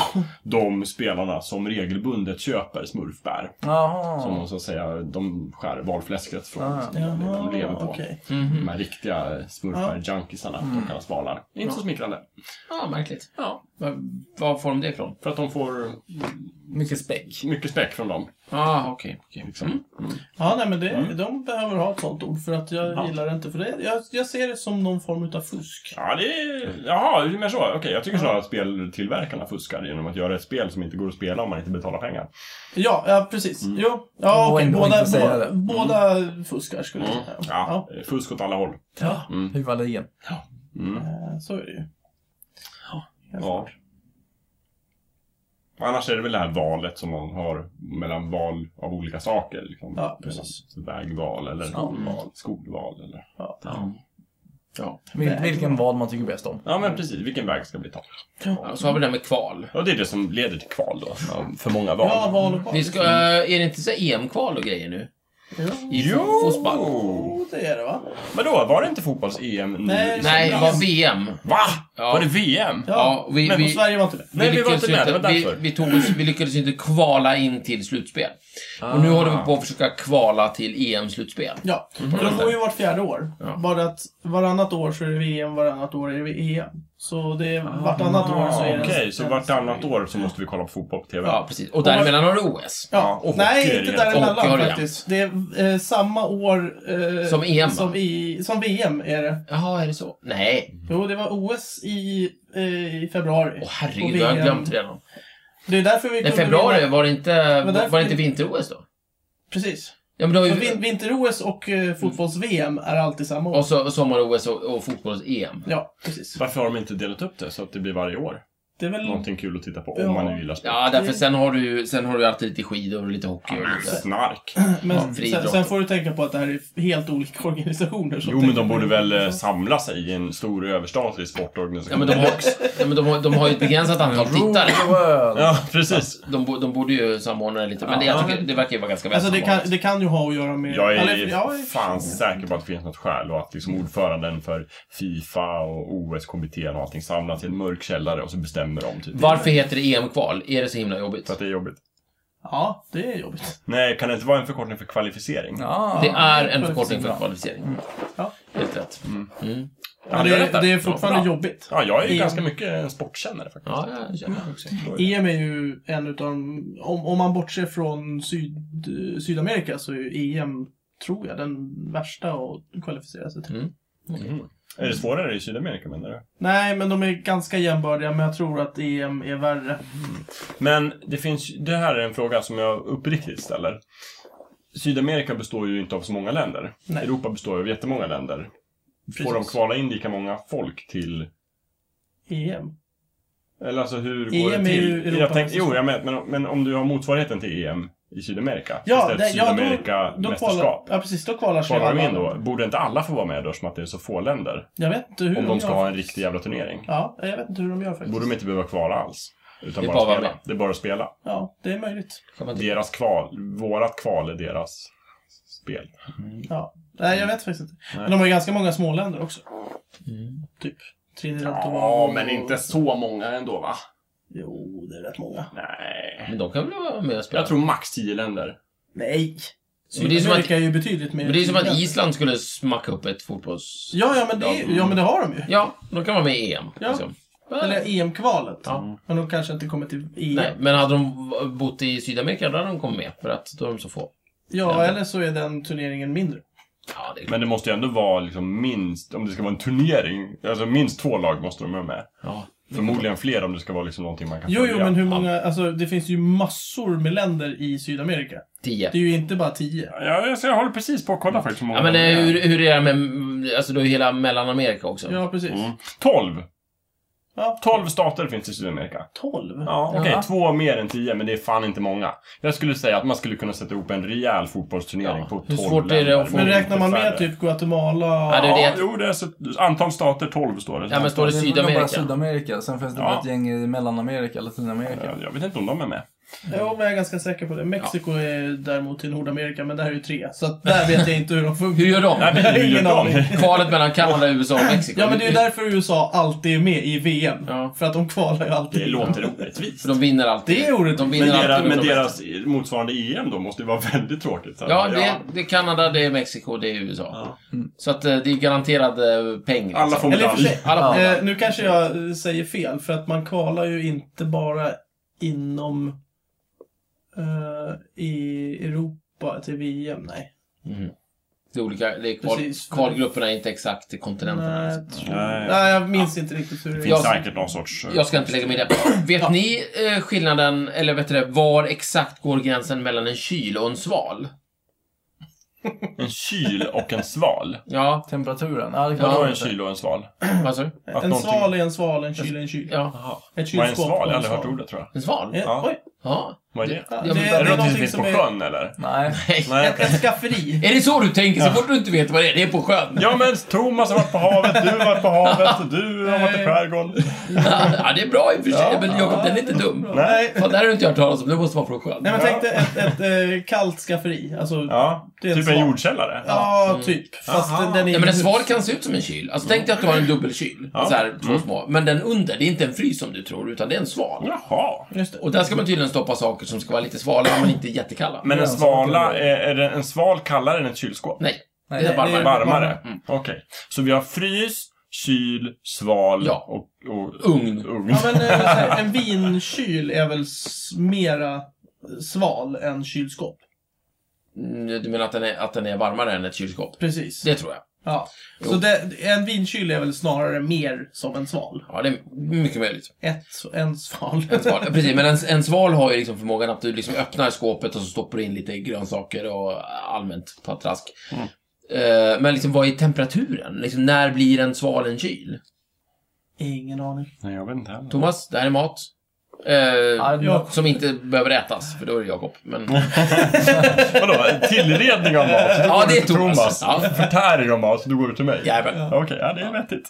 Speaker 4: de spelarna som regelbundet köper smurfbär. Som
Speaker 3: Jaha.
Speaker 4: de så att säga, de skär valfläsket från.
Speaker 3: Ah.
Speaker 4: som de, de lever på.
Speaker 1: okej. Mhm. Mm.
Speaker 4: De här riktiga smurfbär-junkisarna, de kallas valar. Det är inte så smickrande.
Speaker 2: Ja, märkligt. Ja. Vad, vad får de det ifrån?
Speaker 4: För att de får
Speaker 3: Mycket späck.
Speaker 4: mycket späck från dem.
Speaker 2: Ja, ah, okej. okej.
Speaker 4: Liksom.
Speaker 1: Mm. Ja, nej men det,
Speaker 4: Mm.
Speaker 1: de behöver ha ett sånt ord för att jag gillar det inte. För det, jag, jag ser det som någon form utav fusk.
Speaker 4: Ja, det är... Jaha, du menar så? Okej, jag tycker snarare att speltillverkarna fuskar genom att göra ett spel som inte går att spela om man inte betalar pengar.
Speaker 1: Ja, ja precis.
Speaker 4: Mm.
Speaker 1: Jo. Ja,
Speaker 3: Och
Speaker 1: okej.
Speaker 3: ändå
Speaker 1: båda,
Speaker 3: inte säga
Speaker 1: båda,
Speaker 3: det.
Speaker 1: båda fuskar skulle jag säga.
Speaker 4: Mm. Ja, Eh, fusk åt alla håll.
Speaker 1: Ja.
Speaker 3: Huvudligen.
Speaker 1: Eh, Så är det ju.
Speaker 4: Mm. Ja. Annars är det väl det här valet som man har mellan val av olika saker. Liksom.
Speaker 1: Ja, precis.
Speaker 4: Mellan Vägval eller skolval. skolval eller...
Speaker 1: Ja.
Speaker 2: Ja.
Speaker 3: Vil- Vilken val man tycker bäst om.
Speaker 4: Ja, men precis. Vilken väg ska vi ta?
Speaker 2: Ja, Så har vi det här med kval.
Speaker 4: Mm. Och det är det som leder till kval då. Ja, För många val.
Speaker 1: Ja, val och val.
Speaker 2: Vi
Speaker 4: Mm.
Speaker 2: ska, eh, är det inte så här EM-kval och grejer nu?
Speaker 1: Jo,
Speaker 2: I
Speaker 4: Jo!
Speaker 2: fo- fotboll?
Speaker 1: det är det va?
Speaker 4: Men då, var det inte fotbolls-EM nu?
Speaker 1: Nej.
Speaker 2: Nej, det var VM.
Speaker 4: Va?
Speaker 2: Ja.
Speaker 4: Var det VM?
Speaker 2: Ja, vi,
Speaker 4: men
Speaker 1: Och
Speaker 2: vi,
Speaker 1: Sverige var inte med.
Speaker 4: Nej, vi var
Speaker 2: lyckades
Speaker 4: inte med,
Speaker 2: ju
Speaker 4: det var
Speaker 2: vi,
Speaker 4: därför.
Speaker 2: vi, tog, oss- vi lyckades ju inte kvala in till slutspel. Och nu
Speaker 3: Ah.
Speaker 2: håller vi
Speaker 4: Ah.
Speaker 2: på att försöka kvala till EM-slutspel.
Speaker 1: Ja, och de går ju vart fjärde år. Bara att varannat år så är det VM, varannat år är det EM. Så det är vartannat år så är
Speaker 4: Okej,
Speaker 1: det...
Speaker 4: så vartannat år så måste vi kolla på fotboll på TV?
Speaker 2: Ja, precis. Och däremellan har du OS.
Speaker 1: Ja,
Speaker 4: och hockey
Speaker 1: nej,
Speaker 4: är
Speaker 1: inte
Speaker 4: det.
Speaker 2: Hockey har
Speaker 1: däremellan
Speaker 2: det
Speaker 1: faktiskt. Det är eh, samma år... Eh,
Speaker 2: Som EM, va?
Speaker 1: Som, i, som VM är det.
Speaker 2: Jaha, är det så? Nej.
Speaker 1: Jo, det var OS i, eh, i februari.
Speaker 2: Åh
Speaker 1: Och
Speaker 2: herregud,
Speaker 1: VM
Speaker 2: jag har glömt redan.
Speaker 1: Det är därför vi
Speaker 2: Nej,
Speaker 1: kunde
Speaker 2: februari,
Speaker 1: vinna-
Speaker 2: var det inte,
Speaker 1: Men därför-
Speaker 2: var det inte vinter-OS då?
Speaker 1: Precis.
Speaker 2: Ja, men då har
Speaker 1: Så
Speaker 2: ju,
Speaker 1: vin- Vinter-OS och
Speaker 2: Mm.
Speaker 1: eh, fotbolls-VM är alltid samma år.
Speaker 2: och så sommar-OS och, och fotbolls-EM.
Speaker 1: Ja, precis.
Speaker 4: Varför har de inte delat upp det så att det blir varje år?
Speaker 1: Det är väl...
Speaker 4: Någonting kul att titta på
Speaker 1: Mm. Ja.
Speaker 4: om man nu gillar sport.
Speaker 2: Ja, därför sen har du ju sen har du ju alltid lite skidor och lite hockey och lite...
Speaker 4: Snark.
Speaker 2: Ja,
Speaker 1: Men sen,
Speaker 2: friidrott.
Speaker 1: sen får du tänka på att det här är helt olika organisationer. som
Speaker 4: Jo, men
Speaker 1: tänker
Speaker 4: de
Speaker 1: på
Speaker 4: borde
Speaker 1: det.
Speaker 4: väl eh, samlas i en stor överstatlig
Speaker 2: Ja,
Speaker 4: sportorganisation.
Speaker 2: men de har, ja, men de har, de har ju ett begränsat antal tittare.
Speaker 3: Rule the world.
Speaker 4: Ja, precis.
Speaker 2: De, bo- de borde ju samordna det lite, men det, jag tycker, det verkar ju vara ganska väl
Speaker 1: Alltså det kan,
Speaker 2: samordnat.
Speaker 1: det kan ju ha att göra med...
Speaker 4: Jag
Speaker 1: Eller,
Speaker 4: är
Speaker 1: ja,
Speaker 4: fan säker på att det finns något skäl och att liksom ordföranden för Fifa och OS-kommittén och allting samlas i en mörk källare och så bestämmer de. Typ.
Speaker 2: Varför heter det EM-kval? Är det så himla jobbigt?
Speaker 4: För att det är jobbigt.
Speaker 1: ja, det är jobbigt.
Speaker 4: Nej, kan det inte vara en förkortning för kvalificering?
Speaker 3: Ja.
Speaker 2: Det är en förkortning
Speaker 1: kvalificering.
Speaker 2: för kvalificering.
Speaker 1: Ja.
Speaker 2: Helt rätt. Mm.
Speaker 4: Ja,
Speaker 1: det,
Speaker 4: jag rätt
Speaker 1: är,
Speaker 4: där.
Speaker 1: det är fortfarande
Speaker 4: Ja, bra.
Speaker 1: jobbigt.
Speaker 4: Ja, jag är ju
Speaker 1: Det-
Speaker 4: ganska mycket en sportkännare faktiskt.
Speaker 2: Ja, jag känner det också.
Speaker 1: EM E är ju en utav de- om, om man bortser från syd, Sydamerika så är ju EM, tror jag, den värsta att kvalificera sig till.
Speaker 2: Mm.
Speaker 4: Är det svårare i Sydamerika menar du?
Speaker 1: Nej, men de är ganska jämbördiga, men jag tror att EM är värre.
Speaker 4: Men det finns, det här är en fråga som jag uppriktigt ställer. Sydamerika består ju inte av så många länder.
Speaker 1: Nej.
Speaker 4: Europa består ju av jättemånga länder. Får de
Speaker 1: Precis.
Speaker 4: kvala in lika många folk till
Speaker 1: EM.
Speaker 4: Eller alltså hur går
Speaker 1: EM
Speaker 4: det
Speaker 1: E är
Speaker 4: till?
Speaker 1: ju liksom. Europa-
Speaker 4: jag tänkte, jo, jag men, men, men om du har motsvarigheten till EM i Sydamerika?
Speaker 1: Ja,
Speaker 4: istället
Speaker 1: det- ja, då- Då kvalar,
Speaker 4: Sydamerika-mästerskap.
Speaker 1: ja, precis. Då kvalar sig
Speaker 4: Kvalar de
Speaker 1: alla.
Speaker 4: in då? Borde inte alla få vara med då, som att det är så få länder?
Speaker 1: Jag vet inte hur
Speaker 4: Om de ska
Speaker 1: gör.
Speaker 4: ha en riktig jävla turnering.
Speaker 1: Ja, jag vet inte hur de gör faktiskt.
Speaker 4: Borde de inte behöva kvala alls? Utan
Speaker 2: Det är
Speaker 4: bara,
Speaker 2: bara att vara
Speaker 4: spela.
Speaker 2: med.
Speaker 4: Det är bara att spela.
Speaker 1: Ja, det är möjligt.
Speaker 2: Kan man inte...
Speaker 4: Deras kval, vårat kval är deras spel.
Speaker 1: Ja. Nej, jag vet faktiskt inte.
Speaker 4: Mm. Nej.
Speaker 1: Men de har ju ganska många småländer också.
Speaker 2: Mm.
Speaker 1: Typ Trinidad och
Speaker 4: Ja, men inte så många ändå va?
Speaker 1: Jo, det är rätt många.
Speaker 4: Nej.
Speaker 2: Men de kan väl vara med och spela?
Speaker 4: Jag tror max 10 länder.
Speaker 1: Nej!
Speaker 2: Men det är som att-
Speaker 1: Sydamerika är ju betydligt mer...
Speaker 2: Men det är som att
Speaker 1: tillgängligt.
Speaker 2: Island skulle smacka upp ett fotbolls...
Speaker 1: Ja, ja, men det, är- ja, men det har de ju.
Speaker 2: Ja, de kan vara med i EM.
Speaker 1: Ja.
Speaker 2: Liksom.
Speaker 1: Eller EM-kvalet.
Speaker 2: Ja.
Speaker 1: Men de kanske inte kommer till EM.
Speaker 2: Nej, men hade de bott i Sydamerika, då hade de kommit med. För att då är de så få.
Speaker 1: Ja, eller så är den turneringen mindre.
Speaker 2: Ja, det är klart.
Speaker 4: Men det måste ju ändå vara liksom minst, om det ska vara en turnering, alltså minst två lag måste de vara med.
Speaker 2: Ja.
Speaker 4: Förmodligen fler om det ska vara liksom någonting man kan
Speaker 1: Jo, jo,
Speaker 4: följa.
Speaker 1: men hur många... Alltså, det finns ju massor med länder i Sydamerika.
Speaker 2: Tio.
Speaker 1: Det är ju inte bara tio.
Speaker 4: Ja, jag, så jag håller precis på att kolla faktiskt hur många
Speaker 2: Ja, men eh,
Speaker 4: gånger.
Speaker 2: hur, hur är det med... Alltså, du har ju hela Mellanamerika också.
Speaker 1: Ja, precis.
Speaker 4: Mm. 12!
Speaker 1: Ja.
Speaker 4: 12 stater finns i Sydamerika.
Speaker 1: 12?
Speaker 4: Ja, okej.
Speaker 3: Ja.
Speaker 4: Två mer än tio, men det är fan inte många. Jag skulle säga att man skulle kunna sätta ihop en rejäl fotbollsturnering
Speaker 2: Ja.
Speaker 4: på 12
Speaker 2: Hur svårt är det att få-
Speaker 1: Men
Speaker 4: länder.
Speaker 1: räknar man med
Speaker 4: Färre.
Speaker 1: typ Guatemala?
Speaker 2: Ja, det är
Speaker 4: Ja,
Speaker 2: det.
Speaker 4: jo, det är så, antal stater 12 står det.
Speaker 2: Ja, men står det
Speaker 3: är nog
Speaker 2: Sydamerika?
Speaker 3: Bara Sydamerika. Sen finns det
Speaker 4: Ja.
Speaker 3: bara ett gäng i Mellanamerika eller Sydamerika.
Speaker 4: jag, jag vet inte om de är med.
Speaker 1: Jo, men jag är ganska säker på det. Mexiko är däremot till Nordamerika, men där är ju tre. Så att där vet jag inte hur de
Speaker 2: Hur
Speaker 1: funkar.
Speaker 2: gör
Speaker 4: Nej,
Speaker 2: de?
Speaker 4: men
Speaker 1: Jag har
Speaker 4: hur gör
Speaker 1: ingen
Speaker 4: de?
Speaker 1: aning.
Speaker 2: Kvalet mellan Kanada, USA och Mexiko.
Speaker 1: Ja, men det är ju därför USA alltid är med i VM.
Speaker 2: Ja.
Speaker 1: För att de kvalar ju alltid.
Speaker 4: Det låter orättvist.
Speaker 2: För de vinner alltid.
Speaker 1: Det är orättvist.
Speaker 2: De vinner alltid
Speaker 4: Men, deras,
Speaker 2: mot
Speaker 4: men
Speaker 2: de
Speaker 4: deras motsvarande EM då måste ju vara väldigt tråkigt. Så här,
Speaker 2: Ja, det, det är Kanada, det är Mexiko, det är USA.
Speaker 4: Ja.
Speaker 3: Mm.
Speaker 2: Så att eh, det är garanterad eh, peng.
Speaker 4: Alla
Speaker 2: liksom.
Speaker 4: får
Speaker 1: Eller i och för
Speaker 4: medalj.
Speaker 1: sig,
Speaker 2: Alla får
Speaker 1: eh, nu kanske jag eh, säger fel, för att man kvalar ju inte bara inom eh, i Europa till VM, nej.
Speaker 2: mm. Det är olika, det är kval,
Speaker 1: Precis.
Speaker 2: kvalgrupperna är inte exakt till kontinenterna.
Speaker 1: Nej,
Speaker 2: Liksom.
Speaker 1: jag tror-
Speaker 4: Nej.
Speaker 1: nej, jag minns inte riktigt hur
Speaker 4: Det
Speaker 1: det
Speaker 4: finns
Speaker 1: är.
Speaker 2: Jag-
Speaker 4: säkert någon sorts... eh,
Speaker 2: Jag ska inte lägga mig i det. Vet ni eh, skillnaden, eller vet du det, var exakt går gränsen mellan en kyl och en sval?
Speaker 4: En kyl och en sval.
Speaker 2: Ja,
Speaker 3: Temperaturen? Ja, det kan
Speaker 4: Vadå
Speaker 3: man
Speaker 4: en
Speaker 3: inte.
Speaker 4: kyl och en sval?
Speaker 2: vad sa du?
Speaker 4: Att
Speaker 1: En
Speaker 4: någonting-
Speaker 1: sval är en sval, en kyl är en kyl.
Speaker 2: Ja,
Speaker 1: Ett
Speaker 4: Vad är en
Speaker 1: kylskåp
Speaker 4: sval? Jag har
Speaker 1: och en
Speaker 4: aldrig hört
Speaker 1: sval.
Speaker 4: ordet tror jag.
Speaker 2: en sval?
Speaker 1: Eh,
Speaker 4: Ja.
Speaker 1: Oj,
Speaker 2: Ja.
Speaker 4: Vad är det?
Speaker 1: Ja,
Speaker 2: Ja, men
Speaker 1: det-
Speaker 4: Är det någonting som
Speaker 1: någonting
Speaker 4: finns
Speaker 1: som
Speaker 4: på
Speaker 1: är-
Speaker 4: sjön eller?
Speaker 3: Nej.
Speaker 4: Nej,
Speaker 1: Ett, ett skafferi.
Speaker 2: Är det så du tänker så fort du inte vet vad det är? Det är på sjön.
Speaker 4: Ja men Thomas har varit på havet, du har varit på havet, du har varit i skärgården.
Speaker 2: Ja, det är bra i och för sig, men Jakob, den är inte dum.
Speaker 4: Nej.
Speaker 2: Fan, det här har du inte hört talas om. Det måste vara från sjön.
Speaker 1: Nej men tänk dig ett, ett eh, kallt skafferi. Alltså, ja,
Speaker 4: Ja,
Speaker 1: Det är en
Speaker 4: typ en
Speaker 1: sval.
Speaker 4: jordkällare.
Speaker 1: typ. Fast
Speaker 4: Aha.
Speaker 1: den, den är
Speaker 2: Mm. Ja, men en
Speaker 1: ju-
Speaker 2: sval kan se ut som en kyl. Alltså tänk dig att du har en dubbelkyl.
Speaker 4: Ja.
Speaker 2: Så här, två små. Men den under, det är inte en frys som du tror, utan det är en sval.
Speaker 4: Jaha.
Speaker 1: Just det.
Speaker 2: Och där ska man tydligen stoppa saker som ska vara lite svala, men inte jättekalla.
Speaker 4: Men en
Speaker 3: Ja, så kan det
Speaker 4: svala,
Speaker 3: vara.
Speaker 4: är, är det en sval kallare än ett kylskåp?
Speaker 2: Nej,
Speaker 3: Nej,
Speaker 2: det
Speaker 1: det-
Speaker 2: är Mm. varmare.
Speaker 1: det-
Speaker 4: Varmare? Okej. Så vi har frys, kyl, sval
Speaker 2: Ja.
Speaker 4: och, och
Speaker 2: Ugn.
Speaker 4: ugn.
Speaker 1: Ja, men eh, så här, en vinkyl är väl s- mera sval än kylskåp?
Speaker 2: Mm, Du menar att den, är, att den är varmare än ett kylskåp?
Speaker 1: Precis.
Speaker 2: Det tror jag.
Speaker 1: Ja.
Speaker 2: Jo.
Speaker 1: Så det, en vinkyl är väl snarare mer som en sval?
Speaker 2: Ja, det är mycket möjligt.
Speaker 1: Ett, en sval.
Speaker 2: En sval. Ja, Precis, men en, en sval har ju liksom förmågan att du liksom öppnar skåpet och så stoppar du in lite grönsaker och allmänt patrask. Eh, Men liksom, vad är temperaturen? Liksom, när blir en sval en kyl?
Speaker 1: Ingen aning.
Speaker 4: Nej, jag vet inte heller.
Speaker 2: Thomas, det här är mat. Eh,
Speaker 3: Ja.
Speaker 2: Som inte behöver ätas, för då är det Jakob. Men...
Speaker 4: Vadå, tillredning av mat? Då
Speaker 2: Ja,
Speaker 4: går
Speaker 2: det
Speaker 4: du
Speaker 2: är
Speaker 4: till
Speaker 2: Thomas.
Speaker 4: Thomas.
Speaker 2: Ja.
Speaker 4: Förtäring av mat, då går du till mig?
Speaker 2: Jajamän.
Speaker 4: Okej, ja, det är vettigt.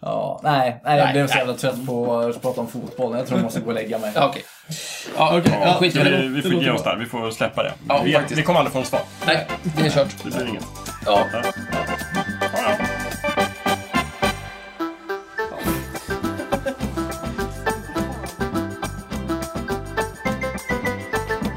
Speaker 3: Ja, nej, nej, jag
Speaker 2: Nej,
Speaker 3: blev så
Speaker 2: nej.
Speaker 3: jävla trött på att prata om fotboll. Jag tror jag måste gå och lägga mig.
Speaker 2: Ja, okej. Ja,
Speaker 1: Okej, ja.
Speaker 2: skit i
Speaker 4: Vi,
Speaker 2: det.
Speaker 4: vi får
Speaker 1: låter
Speaker 4: ge oss där, vi får släppa det.
Speaker 2: Ja,
Speaker 4: vi,
Speaker 2: faktiskt.
Speaker 4: vi kommer aldrig få något svar.
Speaker 2: Nej, det är kört.
Speaker 4: Det blir inget.
Speaker 2: Ja.
Speaker 4: Ja, ja.